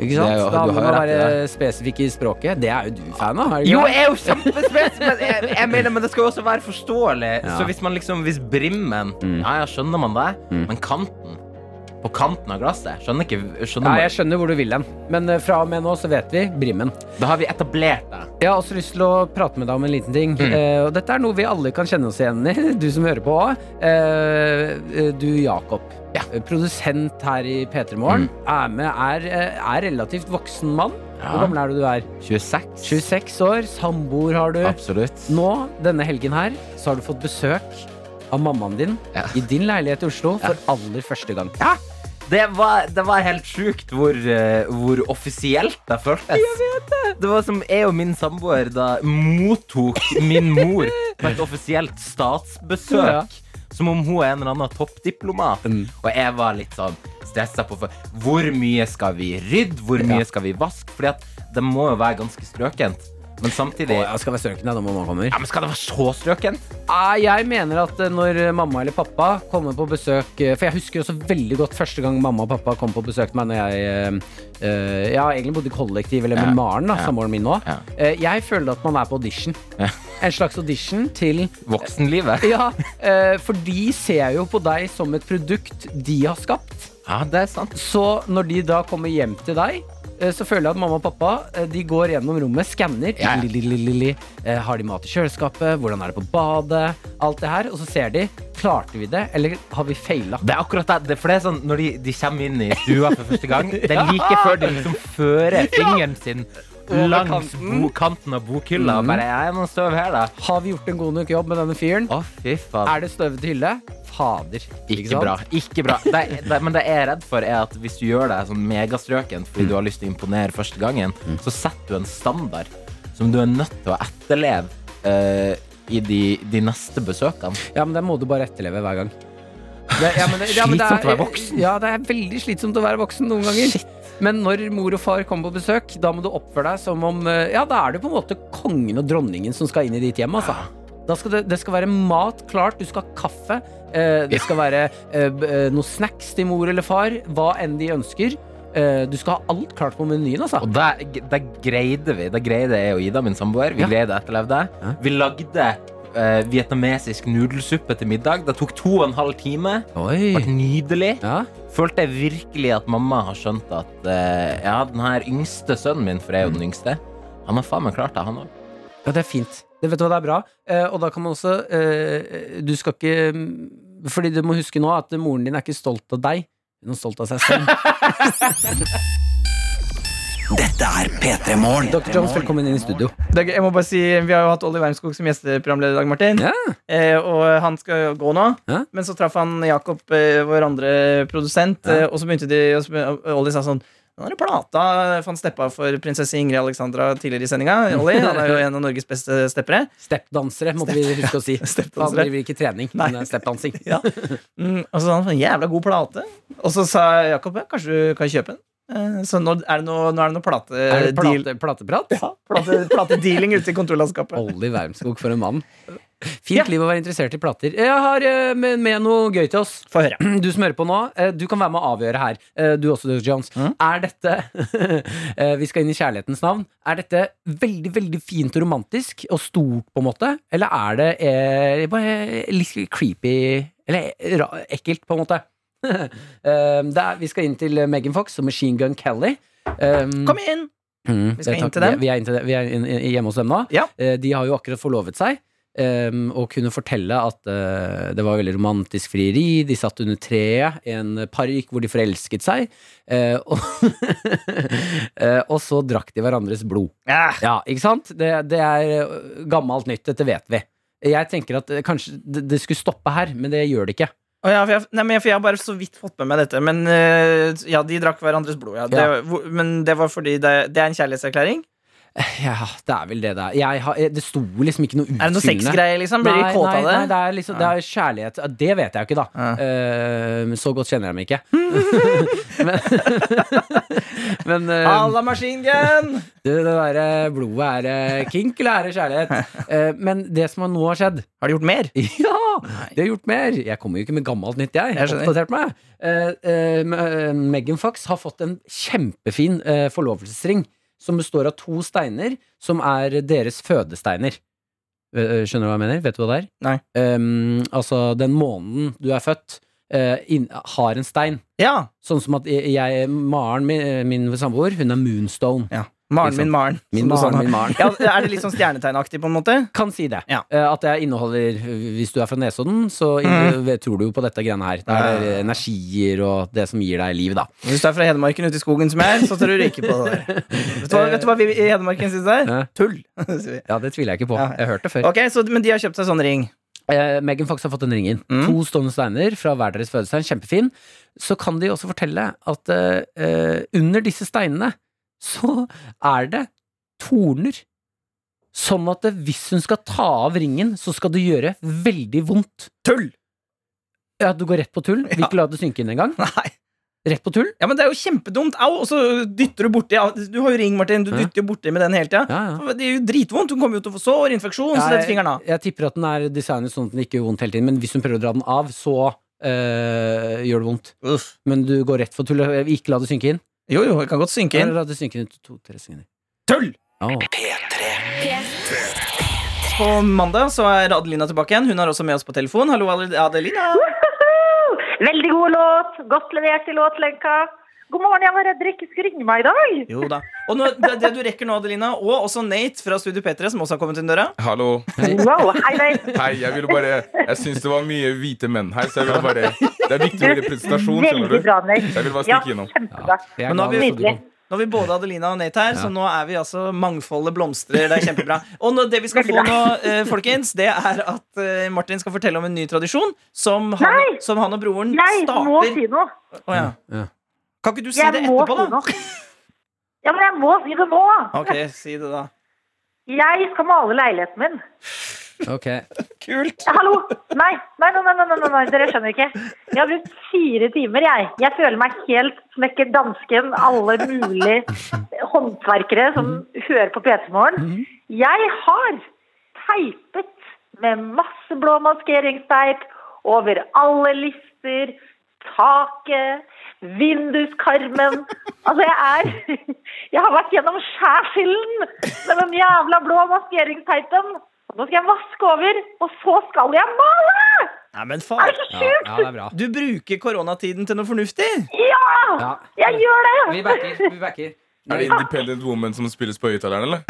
D: Ikke sant?
I: Det er jo-
D: da
I: du
D: må
I: har jo
D: man
I: rett i
D: være spesifikk i språket. Det er jo du fan av. er du
I: Jo,
D: ikke det?
I: jeg er jo kjempespesifikk, men, jeg, jeg mener, men det skal jo også være forståelig. Så hvis man liksom Hvis brimmen
D: Mm.
I: Ja, ja, skjønner man det, men kanten På kanten av glasset Skjønner ikke skjønner
D: Nei,
I: man,
D: jeg skjønner hvor du vil hen, men eh, fra og med nå så vet vi Brimmen.
I: Da har vi etablert det.
D: Jeg har også lyst til å prate med deg om en liten ting.
I: Mm.
D: Eh, og dette er noe vi alle kan kjenne oss igjen i, du som hører på òg. du Jakob,
I: Ja. Mm.
D: eh, produsent her i P3 Morgen, er, med- er, eh, er relativt voksen mann. Hvor
I: Ja.
D: gammel er du du er?
I: 26.
D: 26 år, samboer har du.
I: Absolutt.
D: Nå, denne helgen her, så har du fått besøk av mammaen din
I: Ja.
D: i din leilighet i Oslo for aller første gang. Ja.
I: Det var, det var helt sjukt hvor, eh, hvor offisielt det føltes. Jeg vet det. det var som jeg og min samboer da mottok min mor på et offisielt
D: Ja.
I: statsbesøk. Som om hun er en eller annen toppdiplomat. Og jeg var litt sånn stressa på for hvor mye skal vi rydde, hvor mye skal vi vaske? Fordi at det må jo være ganske strøkent. Men samtidig ja,
D: skal være strøken når mamma kommer.
I: men Skal det være så strøkent?
D: Ah, Jeg mener at eh, når mamma eller pappa kommer på besøk eh, For jeg husker også veldig godt første gang mamma og pappa kom på besøk til meg Når jeg eh, eh, ja, egentlig bodde i kollektiv eller med
I: Ja,
D: Maren, da,
I: ja,
D: samboeren min nå.
I: ja.
D: Eh, Jeg føler at man er på audition. En slags audition til
I: Voksenlivet.
D: Ja, eh, for de ser jo på deg som et produkt de har skapt.
I: Ja, det er sant.
D: Så når de da kommer hjem til deg eh, så føler jeg at mamma og pappa eh, De går gjennom rommet, skanner.
I: Ja, ja.
D: Li, li, li, li, li. Eh, Har de mat i kjøleskapet? Hvordan er det på badet? Alt det her. Og så ser de. Klarte vi det, eller har vi feila?
I: Det er akkurat det. det, for det er sånn, Når de, de kommer inn i stua for første gang, det er like før de liksom fører fingeren sin
D: Over
I: langs
D: kanten. Mhm.
I: bo, kanten av bokhylla. Og bare, jeg må støv her da
D: Har vi gjort en god nok jobb med denne fyren?
I: Å, fy faen.
D: Er det støvete hylle? Fader.
I: Ikke,
D: sant?
I: bra. ikke bra. Det, det, men det jeg er redd for, er at hvis du gjør deg sånn megastrøkent
D: Mm.
I: fordi du har lyst til å imponere første gangen, så setter du en standard som du er nødt til å etterleve eh, i de, de neste besøkene.
D: Ja, men det må du bare etterleve hver gang. Det, ja, men det, ja, men det
I: Slitsomt å
D: er-
I: være voksen.
D: Ja, det er veldig slitsomt å være voksen noen ganger. Men når mor og far kommer på besøk, da må du oppføre deg som om eh, Ja, da er det på en måte kongen og dronningen som skal inn i ditt hjem, altså. Da skal det, det skal være mat klart, du skal ha kaffe, eh, det skal være eh, b- eh, noe snacks til mor eller far, hva enn de ønsker. Eh, du skal ha alt klart på menyen, altså.
I: Og det, det greide vi. Det greide jeg og Ida, min samboer. Vi
D: Ja.
I: greide å etterleve det.
D: Ja.
I: Vi lagde eh, vietnamesisk nudelsuppe til middag. Det tok to og en halv time. Det
D: Oi.
I: ble nydelig.
D: Mm. Ja.
I: Følte jeg virkelig at mamma har skjønt at eh, ja, den her yngste sønnen min, for jeg er jo den
D: Mm.
I: yngste, han har faen meg klart det, han òg.
D: Ja, det er fint. Det vet du hva, det er bra. Eh, og da kan man også eh, Du skal ikke mm, Fordi du må huske nå at moren din er ikke stolt av deg. Hun er stolt av seg selv.
E: Dette er P3 Morgen.
D: Dr. Jones, velkommen inn i studio.
B: Det er gøy. Jeg må bare si, Vi har jo hatt Olli Wermskog som gjesteprogramleder i dag, Martin.
D: Ja.
B: Eh, og han skal jo gå nå.
D: Ja.
B: Men så traff han Jakob, eh, vår andre produsent,
D: Ja.
B: eh, og så begynte de og så begyn- Olli sa sånn Han har plata van Steppa for prinsesse Ingrid Alexandra tidligere i sendinga. Olli, Han er jo en av Norges beste steppere.
D: Steppdansere, måtte vi huske å si. Han
B: Steppdansere.
D: driver ikke trening,
B: Nei.
D: men eh, det er steppdansing.
B: Ja. Mm, og så sa han en jævla god plate. Og så sa Jakob ja, kanskje du kan kjøpe en. Eh, Så nå er det noe, nå er det noe plate,
D: Er det
B: deal-
D: plate, plateprat?
B: ja, plate, platedealing ute i kontorlandskapet.
D: Olli Wermskog, for en mann. Fint liv å være interessert i plater. Jeg har eh, med, med noe gøy til oss.
B: Få høre.
D: Du som hører på nå, eh, du kan være med å avgjøre her. Eh, Du også, Doug Jones. Er dette eh, Vi skal inn i kjærlighetens navn. Er dette veldig veldig fint og romantisk og stort, på en måte? Eller er det eh, bare litt creepy Eller ra ekkelt, på en måte? Eh, det er, vi skal inn til Megan Fox og Machine Gun Kelly. Um,
B: Kom inn!
D: Mm,
B: Vi skal
D: det-
B: inn
D: takk.
B: til dem.
D: Vi, vi er, inn til det. Vi er inn, inn- hjemme hos dem nå.
B: Ja.
D: Eh, De har jo akkurat forlovet seg. ehm, og kunne fortelle at eh, det var veldig romantisk frieri. De satt under treet i en park hvor de forelsket seg. Eh, og, Eh, og så drakk de hverandres blod.
B: Ja.
D: Ja, ikke sant? Det, det er eh, gammelt nytt, dette vet vi. Jeg tenker at eh, kanskje det, det skulle stoppe her, men det gjør det ikke.
B: Å ja, for, jeg, nei, men jeg, for jeg har bare så vidt fått med meg dette. Men eh, ja, de drakk hverandres blod. Ja. Det,
D: Ja.
B: hvor- Men det var fordi det, det er en kjærlighetserklæring?
D: Eh, Ja, det er vel det det er. Jeg har, eh, det sto liksom ikke noe utfyllende.
B: Er det noe sexgreier, liksom? Blir de kåte av
D: Nei, nei,
B: det?
D: det er, liksom, det er kjærlighet. Det vet jeg jo ikke, da.
B: Ja.
D: Eh, så godt kjenner jeg meg ikke. men men eh,
B: Alla Machine Gun!
D: det, det derre blodet er eh, kink, eller er det kjærlighet? Eh, men det som nå har skjedd
B: Har de gjort mer?
D: Ja! De har gjort mer. Jeg kommer jo ikke med gammelt nytt, jeg.
B: Jeg skjønner.
D: Oppdatert meg. Eh, eh, Me- eh, Megan Fox har fått en kjempefin eh, forlovelsesring som består av to steiner som er deres fødesteiner. Eh, eh, skjønner du hva jeg mener? Vet du hva det er?
B: Nei.
D: Ehm, altså, den måneden du er født, eh, inn, har en stein.
B: Ja.
D: Sånn som at jeg, jeg Maren, min, eh, min samboer, hun er moonstone.
B: ja. Maren
D: Ikke sant?
B: min Maren. som
D: Min
B: du sa
D: Maren,
B: nå.
D: min Maren.
B: Ja, er det litt sånn stjernetegnaktig, på en måte?
D: Kan si det.
B: Ja.
D: Eh, at jeg inneholder Hvis du er fra Nesodden, så
B: Mm.
D: inn- tror du jo på dette greiene her. Det er det energier og det som gir deg liv, da.
B: Hvis du er fra Hedmarken ute i skogen som jeg er, så tror du ikke på det der. Vet du hva, vet du hva vi i Hedmarken syns det er?
D: Eh,
B: Tull. sier vi.
D: Ja, det tviler jeg ikke på.
B: Ja.
D: Jeg har hørt det før.
B: Ok, så, Men de har kjøpt seg sånn ring.
D: Eh, Megan Fox har fått en ring inn.
B: Mm.
D: To stående steiner fra hver deres fødestein. Kjempefin. Så kan de også fortelle at eh, eh, under disse steinene så er det torner. Sånn at det, hvis hun skal ta av ringen, så skal det gjøre veldig vondt.
B: Tull!
D: Ja, Du går rett på tull. Vil ikke la det synke inn engang.
B: Nei.
D: Rett på tull.
B: Ja, men det er jo kjempedumt. Au! Og så dytter du borti. Au, Du har jo ring, Martin. Du
D: Ja.
B: dytter jo borti med den hele tida.
D: Ja, ja.
B: Det er jo dritvondt. Hun kommer jo til å få sår, infeksjon, så dette fingeren av.
D: Jeg, jeg tipper at den er designet sånn at den ikke gjør vondt hele tiden, men hvis hun prøver å dra den av, så eh, gjør det vondt. Men du går rett for tull. Eh, Ikke la det synke inn.
B: Jo, jo, det kan godt synke inn.
D: Eller la det synke inn i to-tre sekunder.
B: Tull!
D: Ja.
B: På mandag så er Adelina tilbake igjen. Hun er også med oss på telefon. Hallo, Adel- Adelina.
G: Veldig god låt. Godt levert i låtlenka. God morgen, jeg var redd dere ikke skulle ringe meg i dag.
B: Jo da. Og nå, det, det du rekker nå, Adelina, og også Nate fra Studio P3, som også har kommet inn døra.
J: Hallo.
G: Wow, hei deg.
J: Hei, jeg ville bare Jeg syns det var mye hvite menn her, så jeg ville bare Det er viktig med representasjon, skjønner
G: Veldig
J: du.
G: bra, Nate.
J: Jeg vil bare
G: Ja,
J: stikke innom.
G: kjempebra.
D: Jeg er
B: Men nå har
D: glad
B: vi-
D: for at du kom.
B: Nå har vi både Adelina og Nate her, så nå er vi altså mangfoldet blomstrer. Det er kjempebra. Og nå, det vi skal få nå, eh, folkens, det er at eh, Martin skal fortelle om en ny tradisjon som han,
G: Nei!
B: som han og broren
G: Jeg må
B: starter.
G: si noe.
B: Å, ja.
D: Ja.
B: Kan ikke du si det
G: Jeg må
B: etterpå,
G: si
B: da?
G: noe. Ja, men jeg må si det nå.
B: Ok, si det, da.
G: Jeg skal male leiligheten min.
D: Ok.
B: Kult.
G: Ja, Hallo! Nei, nei, nei, nei, nei, nei, nei, dere skjønner ikke. Jeg har brukt fire timer, jeg. Jeg føler meg helt smekker dansken, alle mulige håndverkere som hører på PT Morgen. Jeg har teipet med masse blå maskeringsteip over alle lister, taket, vinduskarmen. Altså, jeg er Jeg har vært gjennom skjærsilden med den jævla blå maskeringsteipen. Og nå skal jeg vaske over, og så skal jeg male!
B: Nei, men
G: Er
B: far.
G: det så
D: Ja,
G: sjukt?
D: ja, det er bra.
B: Du bruker koronatiden til noe fornuftig.
G: Ja!
D: Ja.
G: Jeg gjør det!
D: Vi backer. Vi backer.
J: Er det Independent Woman som spilles på høyttaleren, eller?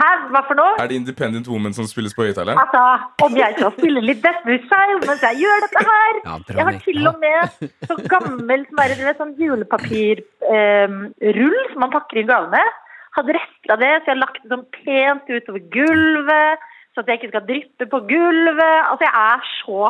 G: Hæ, hva for noe?
J: Er det Independent Woman som spilles på høyttaleren?
G: Altså, om jeg skal spille litt Death Wish Child mens jeg gjør dette her
D: Ja, bra,
G: Jeg har
D: Nick.
G: til og med så gammel som er, du vet, sånn julepapirrull som man pakker inn gavene. Hadde rester av det, så jeg har lagt det sånn pent utover gulvet, så at jeg ikke skal dryppe på gulvet. Altså, jeg er så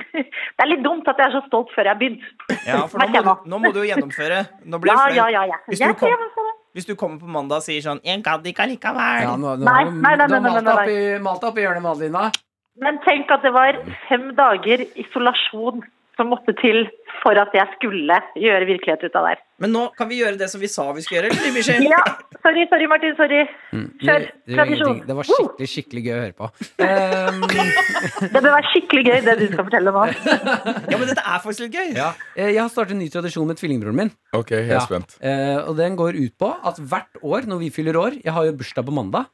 G: Det er litt dumt at jeg er så stolt før jeg har begynt.
B: Ja, for nå
G: Merker jeg
B: må,
G: nå.
B: du- nå må du jo gjennomføre. Nå blir det
G: Ja,
B: flaut.
G: ja, ja. ja.
B: Hvis,
G: Jeg
B: du
G: skal
B: kom,
G: gjennomføre det. sånn.
B: hvis du kommer på mandag og sier sånn 'Jeg gadd ikke allikevel'.
D: Ja, nå, nå,
G: Nei,
D: har du-
G: nei, nei,
D: du har
G: nei, nei,
D: malt
G: nei,
D: opp i- Malt opp i hjørnet, Madelina.
G: Men tenk at det var fem dager isolasjon som måtte til for at jeg skulle gjøre virkelighet ut av det her.
B: Men nå kan vi gjøre det som vi sa vi skulle gjøre. eller, Bishi?
G: Ja, sorry, sorry, Martin. Sorry. Kjør.
D: Det- det gjør
G: Tradisjon.
D: ingenting. Det var
G: Woo!
D: skikkelig, skikkelig gøy å høre på. Ehm,
G: Det bør være skikkelig gøy, det du skal fortelle nå.
B: ja, men dette er faktisk litt gøy.
D: ja. Eh, Jeg har startet en ny tradisjon med tvillingbroren min.
J: Ok, jeg er
D: Ja.
J: spent.
D: Eh, og den går ut på at hvert år når vi fyller år Jeg har jo bursdag på mandag.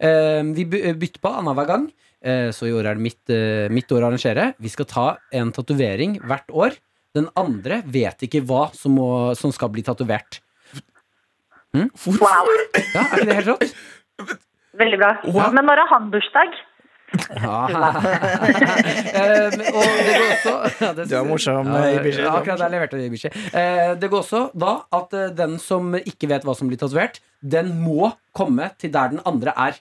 D: Eh, vi by- bytter på annenhver gang. Eh, så i år er det mitt, eh, mitt år å arrangere. Vi skal ta en tatovering hvert år. Den andre vet ikke hva som, må, som skal bli tatovert. Hm?
G: Wow.
D: Ja, er ikke det helt rått?
G: Veldig bra. Men når har han bursdag?
D: Eh, men- og det går også ja, det,
B: Du er morsom, eh, Ibishi.
D: Ja, akkurat der leverte du, Ibishi. Eh, det går også da at eh, den som ikke vet hva som blir tatovert, den må komme til der den andre er.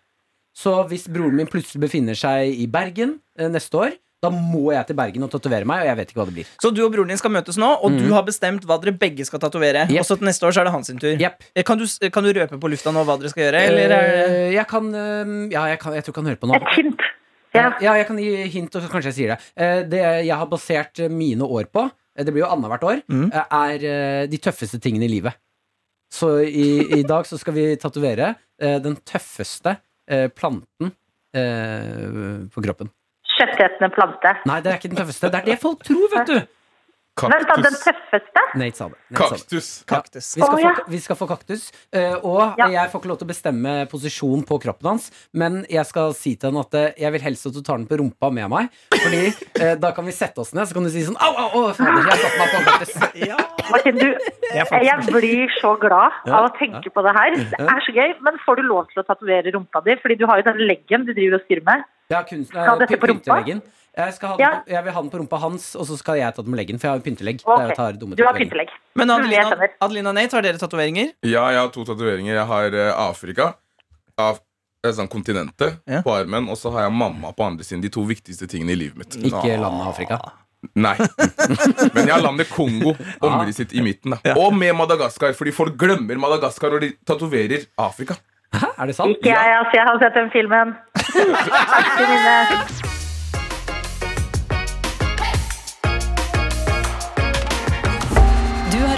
D: Så hvis broren min plutselig befinner seg i Bergen eh, neste år, da må jeg til Bergen og tatovere meg, og jeg vet ikke hva det blir.
B: Så du og broren din skal møtes nå, og du har bestemt hva dere begge skal tatovere.
D: Yep.
B: Og så til neste år så er det hans sin tur.
D: Jepp.
B: Eh, Kan, du, s- kan du røpe på lufta nå hva dere skal gjøre? Eller er det
D: Eh, jeg kan eh, Ja, jeg, kan, jeg tror jeg kan høre på nå.
G: Et hint.
D: Eh, Ja.
G: Ja.
D: jeg kan gi hint, og så kanskje jeg sier det. Eh, Det jeg har basert eh, mine år på, eh, det blir jo annethvert år,
B: Mm.
D: eh, er eh, de tøffeste tingene i livet. Så i, i dag så skal vi tatovere eh, den tøffeste eh, planten eh, på kroppen.
G: Kjøttetende plante.
D: Nei, det er ikke den tøffeste. Det er det folk tror, vet du!
G: Vent, da, den
J: Kaktus.
G: tøffeste?
D: Nate sa det. Nate sa det.
J: Kaktus.
B: kaktus?
D: Vi skal,
G: Å,
D: få,
G: ja.
D: vi skal få kaktus, eh, og
G: Ja.
D: jeg får ikke lov til å bestemme posisjon på kroppen hans, men jeg skal si til han at eh, jeg vil helst at du tar den på rumpa med meg, fordi eh, da kan vi sette oss ned, så kan du si sånn au, au, au, fader, jeg satte meg på en kaktus.
B: Ja.
G: Martin, du, jeg blir så glad av å tenke på det her. Det er så gøy. Men får du lov til å tatovere rumpa di? Fordi du har jo den leggen du driver og styrer med.
D: Jeg har kunst,
G: Skal
D: eh,
G: dette på rumpa?
D: pynteleggen. Jeg, skal ha den,
G: Ja.
D: på- jeg vil ha den på rumpa hans, og så skal jeg ta den med leggen, for jeg har jo pyntelegg. Det er jo
G: Ok,
D: jeg tar dumme
G: Du har
D: tatoveringer.
G: pyntelegg.
B: Men
G: Mm, jeg
B: Adelina,
G: skjønner.
B: Adelina og Nate, har dere tatoveringer?
J: Ja, jeg har to tatoveringer. Jeg har eh, Afrika. Av eh, sånn kontinentet
B: Ja.
J: på armen. Og så har jeg mamma på andre siden. De to viktigste tingene i livet mitt.
D: Ikke landet Afrika.
J: Nei. Men jeg har landet Kongo omrisset i midten. Da. Og med Madagaskar, fordi folk glemmer Madagaskar når de tatoverer Afrika.
D: Hæ, er det sant?
G: Ikke jeg, altså. Jeg har sett den filmen. Alltid mine-
A: Du har